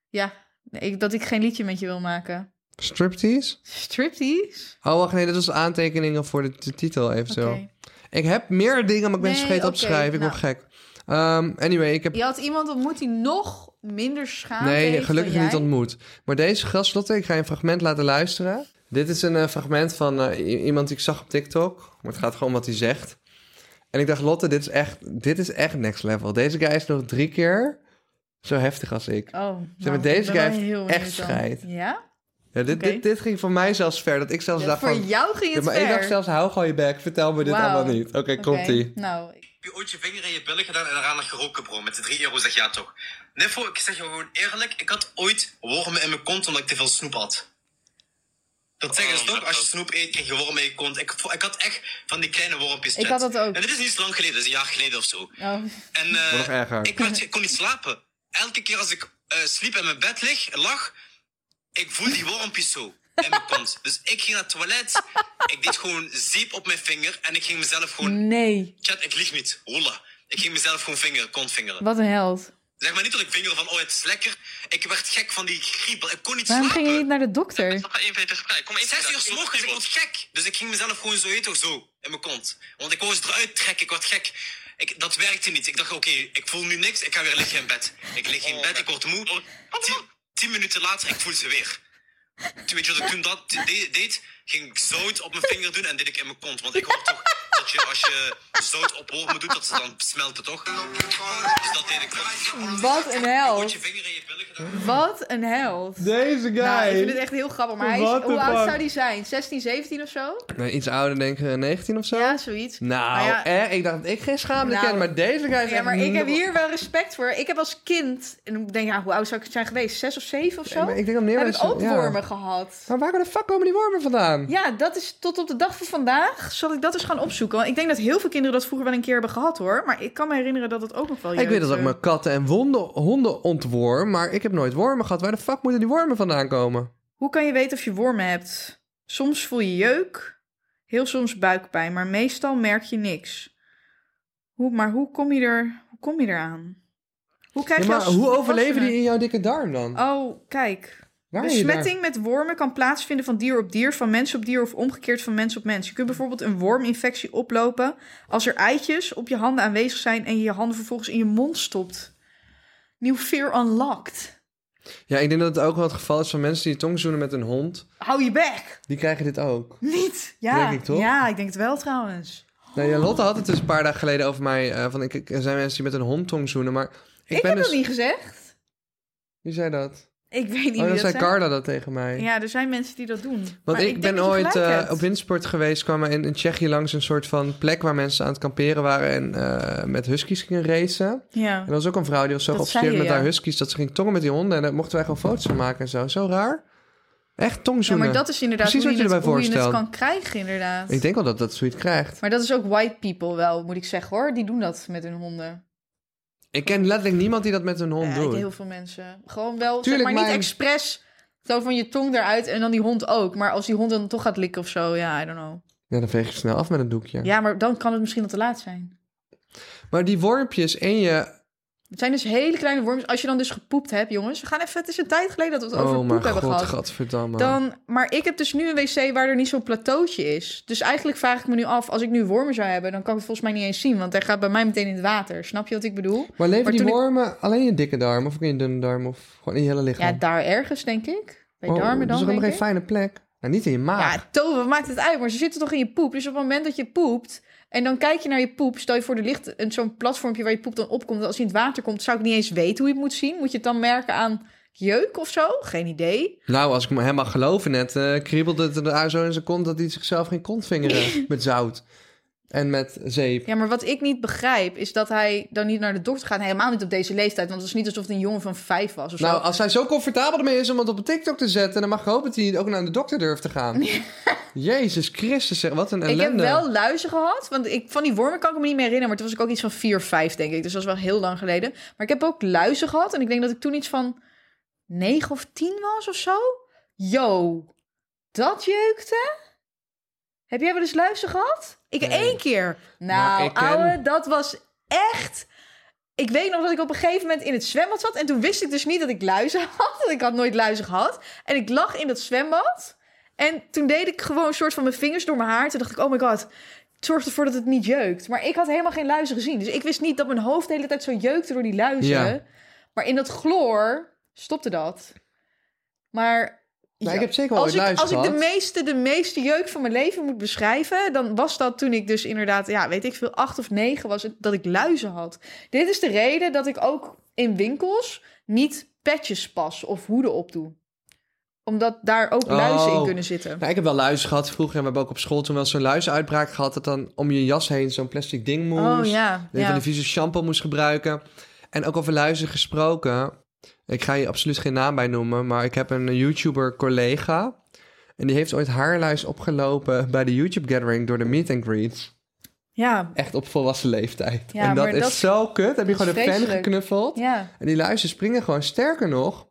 S3: Ja, nee, ik, dat ik geen liedje met je wil maken.
S4: striptease.
S3: Striptease?
S4: Oh, wacht, nee, dat was aantekeningen voor de, de titel
S3: Oké.
S4: eventueel. Ik heb meer dingen, maar ik ben ze
S3: Nee,
S4: vergeten op
S3: oké,
S4: te schrijven. Ik
S3: nou.
S4: word gek. Oké, Ehm, anyway, ik heb
S3: Je had iemand ontmoet die nog minder schaamt.
S4: Nee, gelukkig niet ontmoet. Maar deze graslotte, ik ga je een fragment laten luisteren. Dit is een eh, fragment van eh, i- iemand die ik zag op TikTok. Maar het gaat gewoon om wat hij zegt. En ik dacht, Lotte, dit is echt, dit is echt next level. Deze guy is nog drie keer zo heftig als ik.
S3: Oh, nou,
S4: Zeg maar,
S3: ik
S4: deze
S3: ben wel
S4: guy heeft
S3: heel
S4: echt
S3: benieuwd dan.
S4: scheid.
S3: Ja?
S4: Ja, dit,
S3: oké.
S4: dit, dit ging voor mij zelfs ver. Dat ik zelfs dacht
S3: voor
S4: van...
S3: jou ging
S4: Ja,
S3: het
S4: maar
S3: ver.
S4: ik dacht zelfs, hou gewoon je bek. Vertel me dit
S3: Wauw.
S4: allemaal niet. Oké,
S3: Oké,
S4: komt-ie.
S3: Nou, ik-
S5: Heb je ooit je vinger in je billen gedaan en daarna geroken, bro? Met de 3 euro zeg ja toch? Niffo, ik zeg je gewoon eerlijk, ik had ooit wormen in mijn kont omdat ik te veel snoep had. Dat zeggen ze toch? Als je snoep eet, krijg je wormen in je kont. Ik, vo- ik had echt van die kleine wormpjes.
S3: Ik
S5: chat.
S3: had dat ook.
S5: En dit is niet zo lang geleden, dat is een jaar geleden of zo.
S3: oh,
S5: En eh,
S4: Wordt nog erger.
S5: ik, werd- ik kon niet slapen. Elke keer als ik eh, sliep en in mijn bed lig, lag, ik voel die wormpjes zo in mijn kont. Dus ik ging naar het toilet, ik deed gewoon zeep op mijn vinger en ik ging mezelf gewoon
S3: nee.
S5: Chat, ik lieg niet. Holla. Ik ging mezelf gewoon vingeren, kont vingeren.
S3: Wat een held.
S5: Zeg maar niet dat ik vinger van, oh, het is lekker. Ik werd gek van die griepel. Ik kon niet
S3: Waarom
S5: slapen.
S3: ging je niet naar de dokter?
S6: Nog maar één veter vrij. Kom maar één
S5: Zes
S6: veter.
S5: uur 's morgens, ik word gek. Dus ik ging mezelf gewoon zo, heet toch, zo, in mijn kont. Want ik wou eens eruit trekken, ik werd gek. Ik, dat werkte niet. Ik dacht, oké, ik voel nu niks, ik ga weer liggen in bed. Ik lig
S6: Oh,
S5: in bed, ik word moe. Tien, tien minuten later, ik voel ze weer. Toen weet je wat ik toen dat de- deed? Ging ik zout op mijn vinger doen en deed ik in mijn kont. Want ik hoor toch dat je, als je zout op wormen doet, dat ze dan smelten, toch? Dus dat deed ik wel.
S3: Wat een
S5: Moet
S3: held.
S5: je vinger in je billen gedaan?
S3: Wat een held.
S4: Deze guy.
S3: Nou, ik vind het echt heel grappig. Maar hij is,
S4: What the
S3: hoe oud
S4: fuck?
S3: zou die zijn? 16, 17 of zo?
S4: Nee, iets ouder, denk ik, eh, 19 of zo?
S3: Ja, zoiets.
S4: Nou,
S3: Maar ja,
S4: eh, ik dacht dat ik geen schaamte
S3: Nou,
S4: ken, maar deze guy is
S3: Ja,
S4: echt
S3: maar ik heb
S4: nog-
S3: hier wel respect voor. Ik heb als kind, en ik denk, ja, hoe oud zou ik zijn geweest? Zes of zeven of
S4: Ja,
S3: zo?
S4: maar ik denk dat meer
S3: heb ik
S4: mensen...
S3: ook
S4: ja.
S3: wormen gehad.
S4: Maar waar de fuck komen die wormen vandaan?
S3: Ja, dat is tot op de dag van vandaag. Zal ik dat eens gaan opzoeken? Want ik denk dat heel veel kinderen dat vroeger wel een keer hebben gehad hoor. Maar ik kan me herinneren dat het ook nog wel.
S4: ik weet dat
S3: jeugd,
S4: ik mijn katten en wonden, honden ontworm, maar ik heb nooit wormen gehad. Waar de fuck moeten die wormen vandaan komen?
S3: eh, Hoe kan je weten of je wormen hebt? Soms voel je jeuk, heel soms buikpijn, maar meestal merk je niks. Hoe, maar hoe kom je er? Hoe kom je eraan? Hoe krijg
S4: Ja,
S3: je
S4: maar
S3: als
S4: hoe overleven die
S3: volwassene-
S4: in jouw dikke darm dan?
S3: Oh, kijk.
S4: Waar je
S3: Besmetting met wormen kan plaatsvinden van dier op dier, van mens op dier of omgekeerd van mens op mens. Je kunt bijvoorbeeld een worminfectie oplopen als er eitjes op je handen aanwezig zijn en je je handen vervolgens in je mond stopt. Nieuw fear unlocked.
S4: daar- Ja, ik denk dat het ook wel het geval is van mensen die tong zoenen met een hond.
S3: Hou je bek.
S4: Die krijgen dit ook.
S3: Niet. Ja,
S4: Denk ik toch?
S3: ja, ik denk het wel trouwens.
S4: Nou, ja, Lotte had het dus een paar dagen geleden over mij. eh, van, ik, ik- er zijn mensen die met een hond tong zoenen, maar ik,
S3: Ik,
S4: ben
S3: heb
S4: dus...
S3: dat niet gezegd.
S4: Wie zei dat?
S3: Ik weet niet
S4: oh,
S3: wie
S4: dan
S3: dat
S4: zei
S3: zijn.
S4: Carla dat tegen mij.
S3: Ja, er zijn mensen die dat doen.
S4: Want
S3: Maar
S4: ik,
S3: denk
S4: ben
S3: dat je
S4: ooit
S3: gelijk
S4: eh,
S3: hebt.
S4: op windsport geweest, kwam er in, in Tsjechië langs een soort van plek waar mensen aan het kamperen waren en eh, met huskies gingen racen.
S3: Ja.
S4: En er was ook een vrouw die was zo
S3: Dat
S4: geobsedeerd
S3: zei
S4: met
S3: je,
S4: haar
S3: ja.
S4: huskies dat ze ging tongen met die honden en daar mochten wij gewoon foto's van maken en zo. Zo raar. Echt
S3: ja,
S4: tongzoenen.
S3: maar dat is inderdaad
S4: Precies
S3: hoe,
S4: wat
S3: je
S4: je
S3: het,
S4: erbij
S3: hoe je het
S4: voorstelt.
S3: kan krijgen inderdaad.
S4: Ik denk wel dat dat zoiets krijgt.
S3: Maar dat is ook white people wel, moet ik zeggen hoor. Die doen dat met hun honden.
S4: Ik ken letterlijk niemand die dat met hun hond
S3: Ja, ik
S4: doet.
S3: ken heel veel mensen. Gewoon wel,
S4: Tuurlijk,
S3: zeg maar
S4: maar-
S3: niet expres zo van je tong eruit en dan die hond ook. Maar als die hond dan toch gaat likken of zo, ja, I don't know.
S4: Ja, dan veeg je snel af met een doekje.
S3: Ja, maar dan kan het misschien al te laat zijn.
S4: Maar die wormpjes en je...
S3: Het zijn dus hele kleine worms. Als je dan dus gepoept hebt, jongens. We gaan even, het is een tijd geleden dat we het
S4: Oh
S3: over
S4: mijn
S3: poep hebben
S4: god,
S3: gehad.
S4: gadverdamme.
S3: Dan, maar ik heb dus nu een wc waar er niet zo'n plateautje is. Dus eigenlijk vraag ik me nu af, als ik nu wormen zou hebben, dan kan ik het volgens mij niet eens zien. Want hij gaat bij mij meteen in het water. Snap je wat ik bedoel?
S4: Maar leven
S3: maar
S4: die
S3: toen ik-
S4: wormen alleen in je dikke darm of ook in je dunne darm of gewoon in je hele lichaam?
S3: Ja, daar ergens, denk ik. Bij
S4: Oh,
S3: darmen
S4: Dat
S3: dan,
S4: is
S3: denk
S4: helemaal geen
S3: ik.
S4: fijne plek. Nou, niet in je maag.
S3: Ja, Tove, wat maakt het uit? Maar ze zitten toch in je poep. Dus op het moment dat je poept en dan kijk je naar je poep, stel je voor er ligt een- zo'n platformpje waar je poep dan opkomt. Als je in het water komt, zou ik niet eens weten hoe je het moet zien. Moet je het dan merken aan jeuk of zo? Geen idee.
S4: Nou, als ik me helemaal geloven net, eh kriebelde het er zo in zijn kont dat hij zichzelf ging kont vingeren met zout en met zeep.
S3: Ja, maar wat ik niet begrijp is dat hij dan niet naar de dokter gaat. Helemaal niet op deze leeftijd, want het is niet alsof het een jongen van vijf was of
S4: Nou,
S3: zo.
S4: als hij zo comfortabel ermee is om het op een TikTok te zetten, dan mag ik hopen dat hij ook naar de dokter durft te gaan. Jezus Christus, zeg, wat een
S3: Ik
S4: ellende. Nou,
S3: heb wel luizen gehad, want ik, van die wormen kan ik me niet meer herinneren. Maar toen was ik ook iets van 4, 5, denk ik. Dus dat was wel heel lang geleden. Maar ik heb ook luizen gehad. En ik denk dat ik toen iets van 9 of 10 was of zo. Yo, dat jeukte. Heb jij wel eens luizen gehad? Ik
S4: Nee.
S3: één keer.
S4: Nou,
S3: Nou,
S4: ik ken-
S3: ouwe, dat was echt... Ik weet nog dat ik op een gegeven moment in het zwembad zat. En toen wist ik dus niet dat ik luizen had. Want ik had nooit luizen gehad. En ik lag in dat zwembad. En toen deed ik gewoon een soort van mijn vingers door mijn haar. Toen dacht ik, oh my god, Het zorgt ervoor dat het niet jeukt. Maar ik had helemaal geen luizen gezien. Dus ik wist niet dat mijn hoofd de hele tijd zo jeukte door die luizen.
S4: Ja.
S3: Maar in dat chloor stopte dat. Maar ja,
S4: Nou, ik heb zeker wel
S3: als
S4: ooit
S3: ik,
S4: luizen
S3: als ik de
S4: gehad.
S3: meeste, de meeste jeuk van mijn leven moet beschrijven, dan was dat toen ik dus inderdaad, ja, weet ik veel, acht of negen was, dat ik luizen had. Dit is de reden dat ik ook in winkels niet petjes pas of hoeden op doe. Omdat daar ook luizen in
S4: Oh.
S3: kunnen zitten.
S4: Nou, ik heb wel luizen gehad vroeger. En we hebben ook op school toen wel zo'n luizenuitbraak gehad. Dat dan om je jas heen zo'n plastic ding moest.
S3: Oh ja,
S4: Dat je
S3: ja.
S4: van die vieze shampoo moest gebruiken. En ook over luizen gesproken. Ik ga je absoluut geen naam bij noemen. Maar ik heb een YouTuber-collega. En die heeft ooit haarluis opgelopen bij de YouTube-gathering door de meet and greets.
S3: ja,
S4: Echt op volwassen leeftijd.
S3: Ja,
S4: en dat
S3: maar
S4: is
S3: dat-
S4: zo kut. Heb je
S3: dat is
S4: gewoon een fan
S3: vreselijk.
S4: geknuffeld.
S3: ja.
S4: En die luizen springen gewoon. Sterker nog,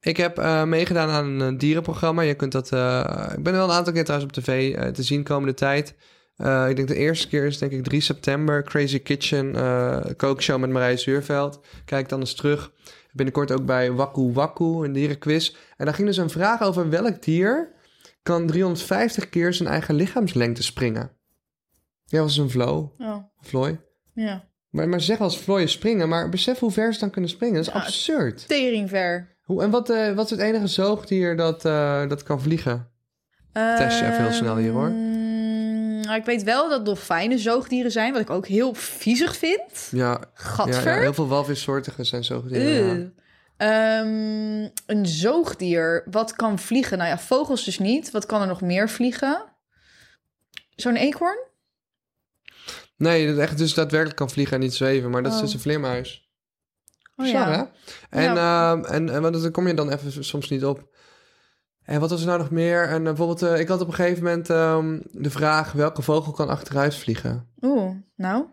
S4: ik heb eh, meegedaan aan een eh, dierenprogramma. Je kunt dat. eh, ik ben wel een aantal keer trouwens op tv eh, te zien komende tijd. Eh, ik denk de eerste keer is denk ik 3 september. Crazy Kitchen, eh kookshow met Marije Zuurveld. Kijk dan eens terug. Binnenkort ook bij Waku Waku, een dierenquiz. En daar ging dus een vraag over welk dier kan 350 keer zijn eigen lichaamslengte springen. Ja, was een vlo,
S3: Oh,
S4: vlooi.
S3: ja.
S4: Maar, maar zeg als vlooien springen, maar besef hoe ver ze dan kunnen springen. Dat is
S3: Ja,
S4: absurd.
S3: Teringver.
S4: Hoe, en wat, eh, wat is het enige zoogdier dat, eh, dat kan vliegen? Tess je even heel snel hier, hoor.
S3: Ehm, nou, ik weet wel dat dolfijnen zoogdieren zijn, wat ik ook heel viezig vind.
S4: Ja, ja, ja,
S3: Gadver.
S4: heel veel walvissoorten zijn zoogdieren.
S3: Ew.
S4: ja.
S3: Ehm, een zoogdier wat kan vliegen. Nou ja, vogels dus niet. Wat kan er nog meer vliegen? Zo'n eekhoorn?
S4: Nee, dat echt dus daadwerkelijk kan vliegen en niet zweven. Maar dat
S3: Oh.
S4: is dus een vleermuis.
S3: Oh
S4: Bizar, hè? En,
S3: Ja.
S4: ehm, en, en want daar kom je dan even soms niet op. En wat was er nou nog meer? En eh, bijvoorbeeld, eh, ik had op een gegeven moment ehm, de vraag... welke vogel kan achteruit vliegen?
S3: Oeh, nou,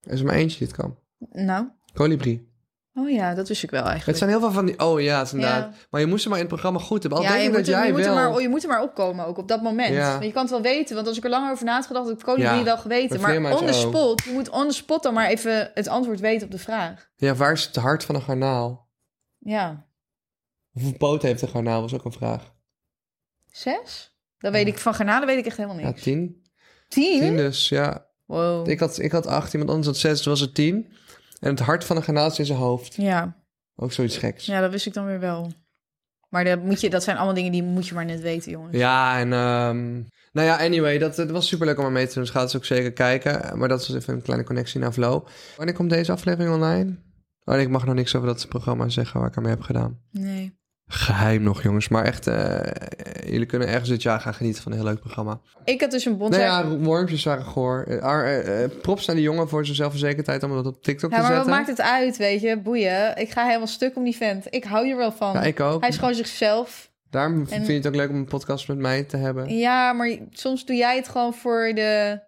S4: Er is maar eentje die het kan.
S3: nou.
S4: Kolibrie.
S3: Oh ja, dat wist ik wel eigenlijk.
S4: Het zijn heel veel van die... Oh ja, het is inderdaad.
S3: Ja.
S4: Maar je moest ze maar in het programma goed hebben. Al
S3: ja,
S4: denk
S3: je
S4: ik
S3: moet,
S4: dat
S3: er,
S4: jij
S3: je, moet er
S4: wel...
S3: maar, oh, je moet er maar opkomen ook op dat moment.
S4: Ja.
S3: Want Je kan het wel weten, want als ik er lang over na had gedacht, had ik het kolibrie
S4: Ja,
S3: wel geweten.
S4: met
S3: Maar
S4: vleermuis
S3: on the
S4: ook.
S3: spot, je moet on the spot dan maar even het antwoord weten op de vraag.
S4: Ja, waar is het hart van een garnaal?
S3: Ja,
S4: Hoeveel poot heeft een garnaal? Was ook een vraag.
S3: zes? Dan weet ik van garnalen weet ik echt helemaal
S4: Ja,
S3: niks.
S4: tien. Tien
S3: Tien?
S4: dus, ja.
S3: Wow.
S4: Ik had, ik had acht, iemand anders had zes, dus was het tien. En het hart van een garnaal is in zijn hoofd.
S3: Ja.
S4: Ook zoiets geks. Ja,
S3: Ja, dat wist ik dan weer wel. Maar dat, moet je, dat zijn allemaal dingen die moet je maar net weten, jongens.
S4: en... ehm, nou ja, anyway, dat, dat was superleuk om aan mee te doen. Dus gaat ze ook zeker kijken. Maar dat was even een kleine connectie naar Flow. Wanneer komt deze aflevering online? Oh, nee, ik mag nog niks over dat programma zeggen waar ik aan mee heb gedaan.
S3: Nee.
S4: Geheim nog, jongens. Maar echt, eh, jullie kunnen ergens dit jaar gaan genieten van een heel leuk programma.
S3: Ik had dus een
S4: Nou
S3: bonsai...
S4: ja, wormpjes waren goor. Eh, ar- eh, eh, props aan die jongen voor zijn zelfverzekerdheid om dat op TikTok
S3: Ja,
S4: te
S3: maar wat
S4: zetten.
S3: maakt het uit, weet je? Boeien. Ik ga helemaal stuk om die vent. Ik hou hier wel van.
S4: Ja, ik ook.
S3: Hij is gewoon zichzelf.
S4: Daarom
S3: en-
S4: vind je het ook leuk om een podcast met mij te hebben.
S3: Ja, maar soms doe jij het gewoon voor de...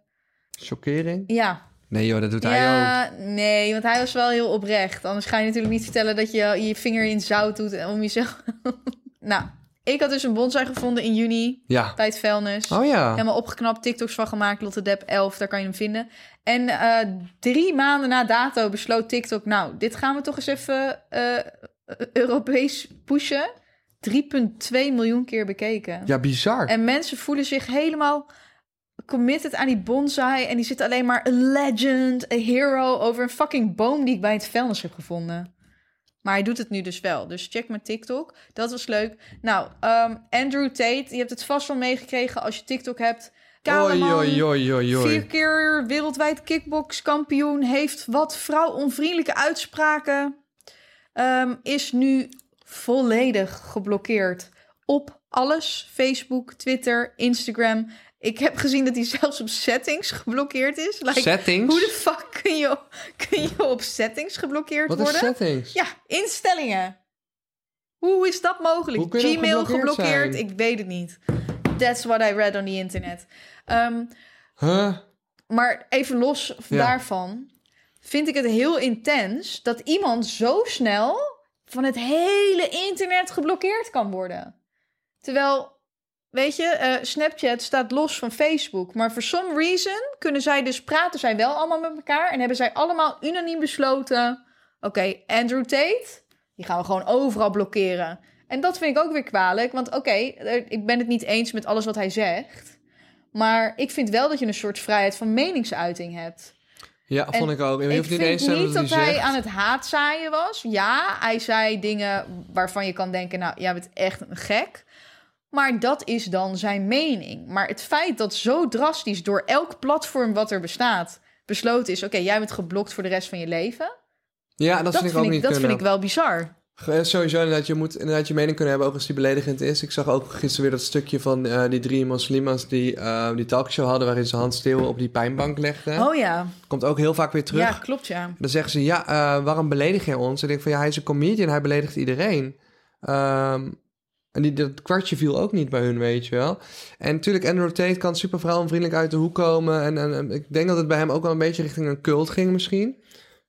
S4: Chockering?
S3: Ja.
S4: Nee joh, dat doet hij ook.
S3: Ja, nee, want hij was wel heel oprecht. Anders ga je natuurlijk niet vertellen dat je je vinger in zout doet om jezelf... nou, ik had dus een bonsai gevonden in juni
S4: Ja.
S3: bij het vuilnis.
S4: Oh ja.
S3: Helemaal opgeknapt, TikToks van gemaakt, Lotte Depp 11, daar kan je hem vinden. En eh, drie maanden na dato besloot TikTok, nou, dit gaan we toch eens even eh, Europees pushen. 3,2 miljoen keer bekeken.
S4: Ja, bizar.
S3: En mensen voelen zich helemaal committed aan die bonsai. En die zitten alleen maar een legend, een hero over een fucking boom die ik bij het vuilnis heb gevonden. Maar hij doet het nu dus wel. Dus check mijn TikTok. Dat was leuk. Nou, ehm, Andrew Tate, je hebt het vast wel meegekregen als je TikTok hebt. Kale
S4: Oei,
S3: man,
S4: oei, oei, oei, oei.
S3: vier keer wereldwijd kickbokskampioen, heeft wat vrouwonvriendelijke uitspraken. Ehm, is nu volledig geblokkeerd op alles. Facebook, Twitter, Instagram. Ik heb gezien dat hij zelfs op settings geblokkeerd is. Like,
S4: Settings?
S3: Hoe de fuck kun je, kun je op settings geblokkeerd
S4: Wat
S3: worden?
S4: is settings?
S3: Ja, instellingen. Hoe is dat mogelijk?
S4: Hoe kun je dan
S3: Gmail
S4: geblokkeerd
S3: geblokkeerd?
S4: zijn?
S3: Ik weet het niet. That's what I read on the internet. Ehm,
S4: Huh?
S3: maar even los
S4: Ja.
S3: daarvan vind ik het heel intens dat iemand zo snel van het hele internet geblokkeerd kan worden. Terwijl, weet je, eh, Snapchat staat los van Facebook. Maar for some reason kunnen zij dus praten zij wel allemaal met elkaar. En hebben zij allemaal unaniem besloten. Oké, Andrew Tate, die gaan we gewoon overal blokkeren. En dat vind ik ook weer kwalijk. Want oké, eh, ik ben het niet eens met alles wat hij zegt. Maar ik vind wel dat je een soort vrijheid van meningsuiting hebt.
S4: Ja,
S3: En
S4: vond ik ook. En je
S3: ik
S4: hoeft niet
S3: vind
S4: eens te
S3: niet
S4: hebben
S3: dat
S4: hij
S3: hij
S4: zegt.
S3: aan het haatzaaien was. Ja, hij zei dingen waarvan je kan denken... nou, jij bent echt een gek. Maar dat is dan zijn mening. Maar het feit dat zo drastisch door elk platform wat er bestaat... besloten is, oké, jij bent geblokt voor de rest van je leven...
S4: Ja, dat, vind ik ook niet
S3: dat
S4: kunnen.
S3: vind ik wel bizar.
S4: Eh, Sowieso, inderdaad, je moet inderdaad je mening kunnen hebben, ook als die beledigend is. Ik zag ook gisteren weer dat stukje van eh, die drie moslima's die eh, die talkshow hadden... waarin ze Hans Steeuwen op die pijnbank legden.
S3: Oh ja,
S4: Komt ook heel vaak weer terug.
S3: ja, klopt ja.
S4: Dan zeggen ze, ja, eh, waarom beledig jij ons? En ik denk van, ja, hij is een comedian, hij beledigt iedereen. Ehm, en die, dat kwartje viel ook niet bij hun, weet je wel. En natuurlijk, Andrew Tate kan super vrouwenvriendelijk uit de hoek komen. En, en, en ik denk dat het bij hem ook wel een beetje richting een cult ging misschien.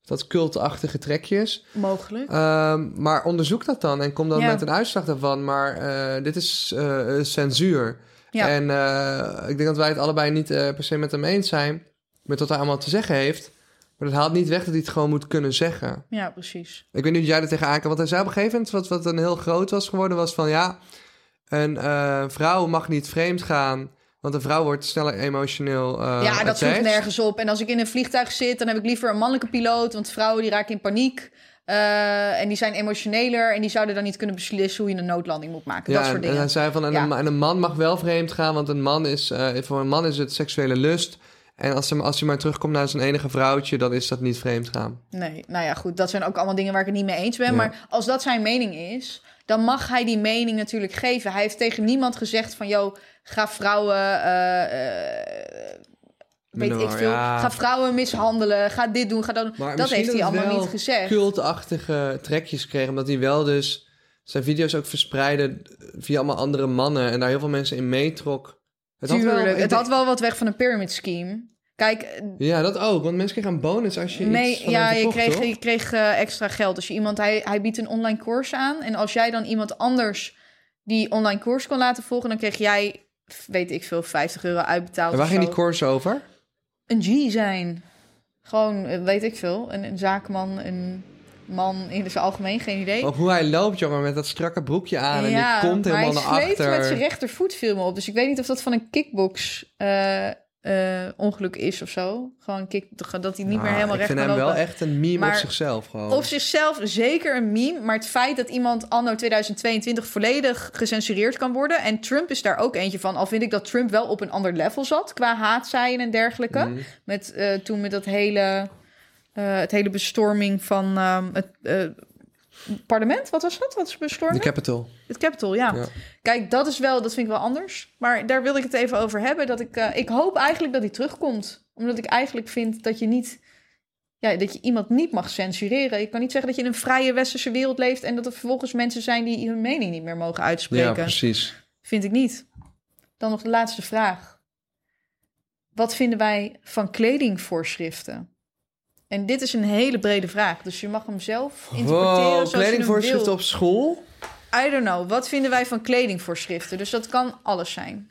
S4: Dat cultachtige trekjes.
S3: Mogelijk.
S4: Ehm, maar onderzoek dat dan en kom dan
S3: Ja.
S4: met een uitslag daarvan. Maar eh, dit is eh, eh, censuur.
S3: Ja.
S4: En eh, ik denk dat wij het allebei niet eh, per se met hem eens zijn. Met wat hij allemaal te zeggen heeft. Maar dat haalt niet weg dat hij het gewoon moet kunnen zeggen.
S3: Ja, precies.
S4: Ik weet niet hoe jij er tegenaan kan. Want hij zei op een gegeven moment, wat, wat een heel groot was geworden, was van ja, een eh, vrouw mag niet vreemd gaan. Want een vrouw wordt sneller emotioneel. eh,
S3: ja, dat sloeg
S4: attached.
S3: nergens op. En als ik in een vliegtuig zit, dan heb ik liever een mannelijke piloot. Want vrouwen die raken in paniek. eh, en die zijn emotioneler. En die zouden dan niet kunnen beslissen hoe je een noodlanding moet maken. dat
S4: en-
S3: soort
S4: En
S3: dingen.
S4: hij zei van, en,
S3: Ja.
S4: een, ma- en een man mag wel vreemd gaan, want een man is, eh, voor een man is het seksuele lust. En als hij, als hij maar terugkomt naar zijn enige vrouwtje, dan is dat niet vreemd gaan.
S3: Nee, nou ja, goed. Dat zijn ook allemaal dingen waar ik het niet mee eens ben.
S4: Ja.
S3: Maar als dat zijn mening is, dan mag hij die mening natuurlijk geven. Hij heeft tegen niemand gezegd van, joh, ga vrouwen... eh, eh, Weet
S4: Minder
S3: ik
S4: waar,
S3: veel.
S4: ja.
S3: Ga vrouwen mishandelen. Ga dit doen. Ga dat. doen.
S4: Maar
S3: dat
S4: misschien
S3: heeft hij
S4: het
S3: allemaal
S4: wel
S3: niet gezegd.
S4: cultachtige trekjes kreeg, omdat hij wel dus zijn video's ook verspreidde via allemaal andere mannen. En daar heel veel mensen in meetrok. Het had wel-
S3: Tuurlijk,
S4: ik
S3: het
S4: denk-
S3: had wel wat weg van een pyramid scheme. Kijk, eh,
S4: Ja, dat ook, want mensen kregen een bonus als je iets
S3: nee,
S4: van
S3: ja,
S4: hem
S3: je
S4: verkocht,
S3: kreeg,
S4: toch?
S3: je kreeg eh, extra geld. Als je iemand, hij, hij biedt een online koers aan. En als jij dan iemand anders die online koers kon laten volgen, dan kreeg jij, f- weet ik veel, 50 euro uitbetaald.
S4: En waar
S3: of
S4: ging
S3: zo.
S4: die koers over?
S3: Een G zijn. Gewoon, eh, weet ik veel, een, een zaakman, een man in zijn algemeen, geen idee.
S4: Ook hoe hij loopt, jongen, met dat strakke broekje aan en die komt
S3: maar
S4: helemaal naar
S3: hij sleept
S4: achter.
S3: met zijn rechtervoet veel meer op. Dus ik weet niet of dat van een kickbox eh, eh, ongeluk is of zo. Gewoon kick, dat hij niet meer
S4: Ah,
S3: helemaal recht
S4: Ik
S3: kan
S4: vind
S3: lopen.
S4: hem wel echt een meme op
S3: Maar
S4: zichzelf gewoon.
S3: Op zichzelf zeker een meme, maar het feit dat iemand anno 2022 volledig gecensureerd kan worden. En Trump is daar ook eentje van. Al vind ik dat Trump wel op een ander level zat qua haatzaaien en dergelijke.
S4: Mhm.
S3: Met, eh, toen met dat hele, eh, het hele bestorming van ehm, het eh, parlement. Wat was dat? Wat is
S4: De
S3: bestorming?
S4: Capital.
S3: Het Capitol, ja.
S4: Ja.
S3: Kijk, dat is wel, dat vind ik wel anders. Maar daar wil ik het even over hebben. Dat ik, eh, ik hoop eigenlijk dat hij terugkomt. Omdat ik eigenlijk vind dat je niet. Ja, dat je iemand niet mag censureren. Je kan niet zeggen dat je in een vrije westerse wereld leeft. en dat er vervolgens mensen zijn die hun mening niet meer mogen
S4: Ja,
S3: uitspreken.
S4: precies.
S3: vind ik niet. Dan nog de laatste vraag. Wat vinden wij van kledingvoorschriften? En dit is een hele brede vraag. Dus je mag hem zelf interpreteren.
S4: Wow,
S3: zoals je hem
S4: kledingvoorschriften
S3: wil.
S4: op school?
S3: I don't know. Wat vinden wij van kledingvoorschriften? Dus dat kan alles zijn.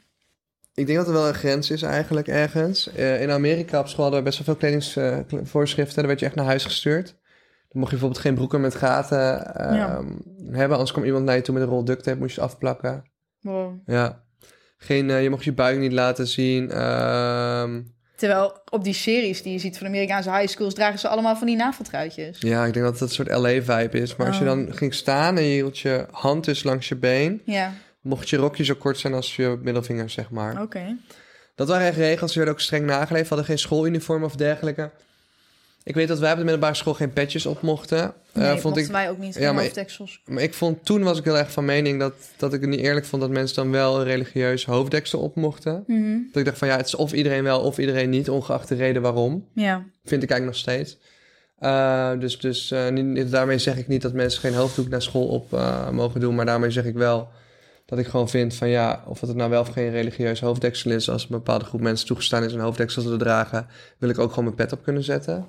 S4: Ik denk dat er wel een grens is eigenlijk ergens. Eh, in Amerika op school hadden we best wel veel kledingsvoorschriften. Daar werd je echt naar huis gestuurd. Dan mocht je bijvoorbeeld geen broeken met gaten ehm,
S3: Ja.
S4: hebben. Anders kwam iemand naar je toe met een rol duct tape. Moest je het afplakken. Ja. Geen, eh, je mocht je buik niet laten zien. Ehm,
S3: Terwijl op die series die je ziet van Amerikaanse high schools... dragen ze allemaal van die naveltruitjes.
S4: ja, ik denk dat dat een soort LA-vibe is. Maar als je
S3: Oh.
S4: dan ging staan en je hield je hand dus langs je been...
S3: Ja,
S4: Mocht je rokje zo kort zijn als je middelvinger, zeg maar.
S3: oké.
S4: Eh, Dat waren echt regels. Ze werden ook streng nageleefd. Hadden geen schooluniform of dergelijke. Ik weet dat wij op de middelbare school geen petjes op mochten. Eh,
S3: Nee,
S4: vond ik,
S3: wij ook niet.
S4: Ja,
S3: Ja,
S4: maar-
S3: hoofddeksels.
S4: maar ik vond toen was ik heel erg van mening dat, dat ik het niet eerlijk vond dat mensen dan wel een religieus hoofddeksel op mochten.
S3: Mhm.
S4: Dat ik dacht van ja, het is of iedereen wel of iedereen niet, ongeacht de reden waarom.
S3: Ja,
S4: Vind ik eigenlijk nog steeds. Eh, dus dus eh, niet- niet- daarmee zeg ik niet dat mensen geen hoofddoek naar school op eh, mogen doen. Maar daarmee zeg ik wel dat ik gewoon vind van ja, of het nou wel of geen religieus hoofddeksel is. Als een bepaalde groep mensen toegestaan is een hoofddeksel te dragen, wil ik ook gewoon mijn pet op kunnen zetten.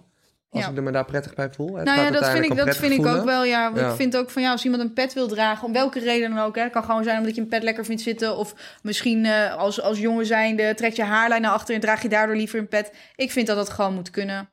S4: Als
S3: Ja.
S4: ik me daar prettig bij voel. Het
S3: nou ja,
S4: gaat
S3: dat vind
S4: uiteindelijk
S3: ik, dat
S4: om prettig
S3: vind ik ook
S4: voelen.
S3: wel. Ja. Want
S4: Ja.
S3: Ik vind ook van ja, als iemand een pet wil dragen, om welke reden dan ook. Hè, het kan gewoon zijn omdat je een pet lekker vindt zitten. Of misschien eh, als, als jongen zijnde trek je haarlijn naar achter en draag je daardoor liever een pet. Ik vind dat dat gewoon moet kunnen.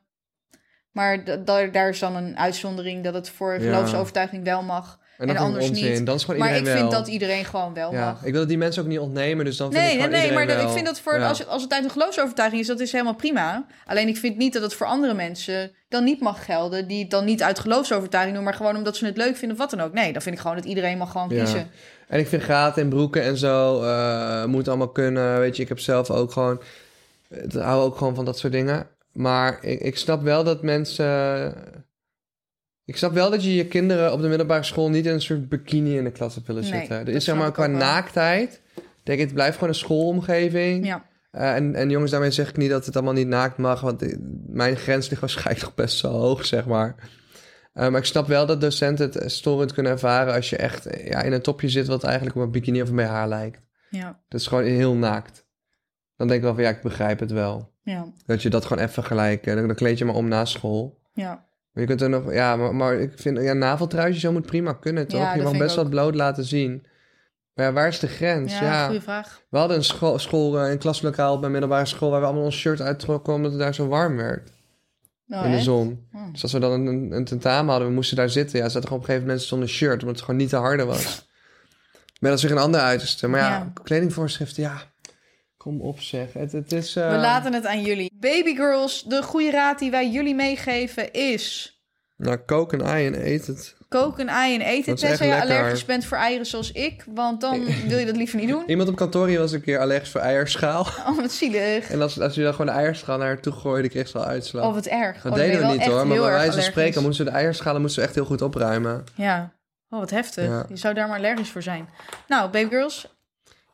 S3: Maar da- daar- daar is dan een uitzondering dat het voor
S4: Ja.
S3: geloofsovertuiging wel mag. en
S4: En dat vind ik
S3: anders
S4: onzin.
S3: niet.
S4: Dan is gewoon
S3: Maar ik
S4: iedereen
S3: vind
S4: wel.
S3: dat iedereen gewoon wel
S4: ja.
S3: mag.
S4: Ik wil dat die mensen ook niet ontnemen, dus dan vind
S3: Nee,
S4: ik
S3: nee,
S4: gewoon
S3: nee, maar
S4: iedereen
S3: dat-
S4: wel.
S3: ik vind dat voor,
S4: Ja.
S3: als, het, als het uit een geloofsovertuiging is, dat is helemaal prima. Alleen ik vind niet dat het voor andere mensen dan niet mag gelden, die het dan niet uit geloofsovertuiging doen, maar gewoon omdat ze het leuk vinden of wat dan ook. Nee, dan vind ik gewoon dat iedereen mag gewoon
S4: Ja.
S3: kiezen.
S4: En ik vind gaten en broeken en zo eh, moet allemaal kunnen. Weet je, ik heb zelf ook gewoon. Ik hou ook gewoon van dat soort dingen. Maar ik, ik snap wel dat mensen. Ik snap wel dat je je kinderen op de middelbare school niet in een soort bikini in de klas hebt willen
S3: Nee,
S4: zetten. Er
S3: dat
S4: is zeg
S3: snap
S4: maar
S3: ik
S4: qua
S3: ook wel.
S4: naaktheid. Ik Denk het blijft gewoon een schoolomgeving.
S3: Ja.
S4: Eh, en, en jongens, daarmee zeg ik niet dat het allemaal niet naakt mag, want eh, mijn grens ligt waarschijnlijk nog best wel hoog, zeg maar. Eh, maar ik snap wel dat docenten het eh, storend kunnen ervaren als je echt eh, ja, in een topje zit wat eigenlijk op een bikini of een BH lijkt.
S3: Ja.
S4: Dat is gewoon heel naakt. Dan denk ik wel van ja, ik begrijp het wel.
S3: Ja.
S4: Dat je dat gewoon even gelijk, eh, dan, dan kleed je maar om na school.
S3: Ja.
S4: Maar je kunt er nog, ja, maar, maar ik vind, ja, naveltruisje zo moet prima kunnen, toch?
S3: Ja,
S4: je
S3: dat
S4: mag
S3: vind ik
S4: best wat
S3: ook.
S4: bloot laten zien. Maar ja, waar is de grens?
S3: Ja, goede vraag.
S4: We hadden een school, school eh, een klaslokaal bij middelbare school waar we allemaal ons shirt uittrokken omdat het daar zo warm werd
S3: Nou,
S4: in de
S3: hè?
S4: zon.
S3: Oh.
S4: Dus als we dan een- een, een tentamen hadden, we moesten daar zitten. Ja, zaten gewoon op een gegeven moment mensen zonder shirt omdat het gewoon niet te harde was. Met als zich een ander uiterste. Maar ja,
S3: Ja.
S4: kledingvoorschriften, ja. Kom op zeg. Het, het is. eh,
S3: We laten het aan jullie. Baby girls, de goede raad die wij jullie meegeven is...
S4: Nou, kook een ei en eet het.
S3: Kook een ei en eet het,
S4: Dat is echt
S3: tenzij je
S4: lekker.
S3: allergisch bent voor eieren zoals ik. Want dan wil je dat liever niet doen.
S4: Iemand op kantoor hier was een keer allergisch voor eierschaal.
S3: Oh, wat zielig.
S4: En als, als je dan gewoon de eierschaal naar haar toe gooide, kreeg ze al uitslag.
S3: Oh, wat erg.
S4: dat
S3: Oh, dan ben
S4: deden
S3: je
S4: we
S3: wel
S4: niet
S3: echt
S4: hoor, maar
S3: heel
S4: bij
S3: erg
S4: wijze van
S3: allergisch.
S4: spreken moesten we de eierschalen moesten we echt heel goed opruimen.
S3: Ja. Oh, wat heftig.
S4: Ja.
S3: Je zou daar maar allergisch voor zijn. Nou, baby girls.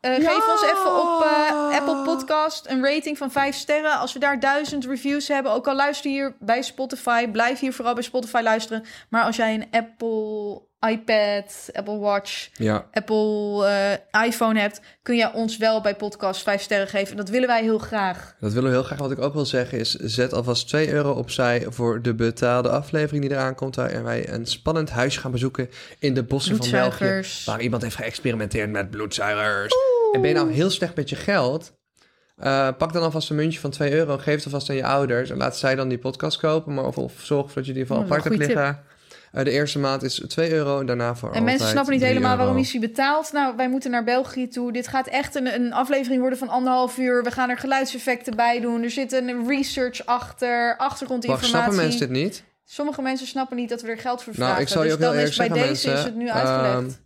S3: eh, Geef ons even op eh, Apple Podcast een rating van 5 sterren. Als we daar duizend reviews hebben, ook al luister je hier bij Spotify, blijf hier vooral bij Spotify luisteren. Maar als jij een Apple iPad, Apple Watch,
S4: Ja.
S3: Apple eh, iPhone hebt, kun jij ons wel bij podcast 5 sterren geven. Dat willen wij heel graag.
S4: Dat willen we heel graag. Wat ik ook wil zeggen is, zet alvast 2 euro opzij voor de betaalde aflevering die eraan komt. Waarin wij een spannend huisje gaan bezoeken in de bossen van België.
S3: Bloedzuigers.
S4: Waar iemand heeft geëxperimenteerd met bloedzuigers. En ben je nou heel slecht met je geld? eh, pak dan alvast een muntje van 2 euro en geef het alvast aan je ouders. En laat zij dan die podcast kopen. Maar of, of zorg ervoor dat je die van
S3: Oh, dat is
S4: apart
S3: een
S4: hebt
S3: goede
S4: liggen. Eh, de eerste maand is 2 euro en daarna voor
S3: En mensen snappen niet helemaal waarom
S4: je
S3: is hij betaald. Nou, wij moeten naar België toe. Dit gaat echt een, een aflevering worden van anderhalf uur. We gaan er geluidseffecten bij doen. Er zit een research achter,
S4: Wacht,
S3: achtergrondinformatie.
S4: snappen mensen dit niet?
S3: Sommige mensen snappen niet dat we er geld voor vragen.
S4: Nou, ik zal je
S3: dus
S4: ook heel
S3: dan
S4: eerlijk
S3: is bij
S4: zeggen,
S3: deze
S4: mensen.
S3: is het nu
S4: ehm,
S3: uitgelegd.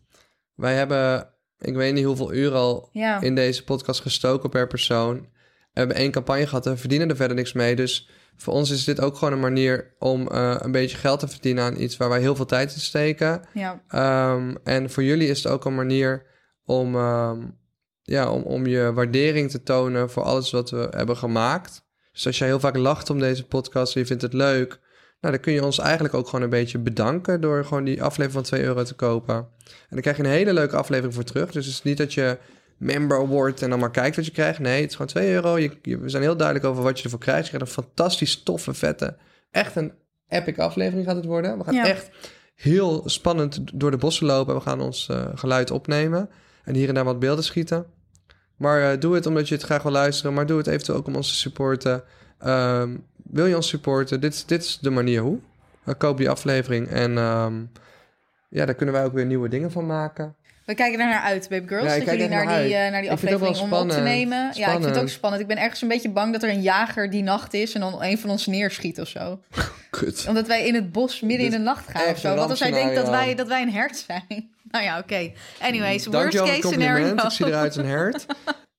S4: wij hebben, ik weet niet hoeveel uur al
S3: ja.
S4: in deze podcast gestoken per persoon. We hebben één campagne gehad en we verdienen er verder niks mee. Dus voor ons is dit ook gewoon een manier om eh, een beetje geld te verdienen aan iets waar wij heel veel tijd in steken.
S3: ja,
S4: Ehm, en voor jullie is het ook een manier om, ehm, ja, om, om je waardering te tonen voor alles wat we hebben gemaakt. Dus als jij heel vaak lacht om deze podcast en je vindt het leuk, nou, dan kun je ons eigenlijk ook gewoon een beetje bedanken door gewoon die aflevering van 2 euro te kopen. En dan krijg je een hele leuke aflevering voor terug. Dus het is niet dat je member wordt en dan maar kijkt wat je krijgt. Nee, het is gewoon 2 euro. Je, je- we zijn heel duidelijk over wat je ervoor krijgt. Je krijgt een fantastisch toffe, vette, echt een epic aflevering gaat het worden. We gaan
S3: Ja.
S4: echt heel spannend door de bossen lopen. We gaan ons eh, geluid opnemen en hier en daar wat beelden schieten. Maar eh, doe het omdat je het graag wil luisteren. Maar doe het eventueel ook om ons te supporten. Ehm, wil je ons supporten? Dit, is- dit is de manier hoe. Eh, koop die aflevering en ehm, ja, daar kunnen wij ook weer nieuwe dingen van maken.
S3: we kijken er naar uit, Baby Girls.
S4: Ja, ik
S3: dat
S4: kijk
S3: jullie
S4: er
S3: naar,
S4: naar
S3: die,
S4: uit.
S3: eh, naar die
S4: Ik vind het ook wel
S3: aflevering om op te
S4: spannend.
S3: nemen. Ja, ik vind het ook
S4: Spannend.
S3: spannend. Ik ben ergens een beetje bang dat er een jager die nacht is... en dan een van ons neerschiet of zo.
S4: Kut.
S3: Omdat wij in het bos midden in de nacht gaan of
S4: Dus echt
S3: zo.
S4: een
S3: Want als hij denkt dat
S4: rampscenario.
S3: wij, dat wij een hert zijn. Nou ja, oké. Anyways, worst
S4: Dankjewel voor
S3: case
S4: het
S3: scenario.
S4: compliment. Ik zie eruit als een hert.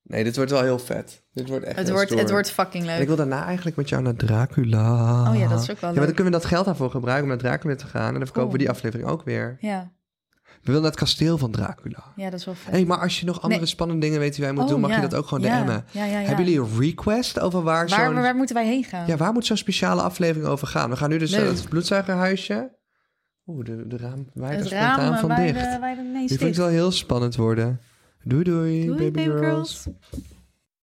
S4: Nee, dit wordt wel heel vet. Dit wordt echt
S3: Het
S4: heel
S3: wordt,
S4: stoer.
S3: het wordt fucking
S4: En ik
S3: leuk.
S4: wil daarna eigenlijk met jou naar Dracula.
S3: Oh ja, dat is ook wel
S4: Ja, maar
S3: leuk. Oh.
S4: dan kunnen we dat geld daarvoor gebruiken om naar Dracula te gaan. En dan verkopen we
S3: Cool.
S4: die aflevering ook weer.
S3: Ja,
S4: We willen naar het kasteel van Dracula.
S3: ja, dat is wel vet.
S4: Hé, hey, maar als je nog andere
S3: Nee.
S4: spannende dingen weet die wij moeten
S3: Oh,
S4: doen, mag
S3: ja.
S4: je dat ook gewoon
S3: Ja,
S4: DM'en.
S3: ja, ja, ja.
S4: Hebben jullie een request over waar,
S3: waar,
S4: zo'n...
S3: waar, waar moeten wij heen gaan?
S4: Ja, waar moet zo'n speciale aflevering over gaan? We gaan nu dus naar
S3: Leuk.
S4: het bloedzuigerhuisje. Oeh, de, de raam waait er
S3: het
S4: spontaan
S3: raam eh,
S4: van
S3: waar
S4: dicht.
S3: de, waar de nee
S4: Dit vind ik
S3: dicht.
S4: wel heel spannend worden. Doei doei,
S3: Doei, baby girls.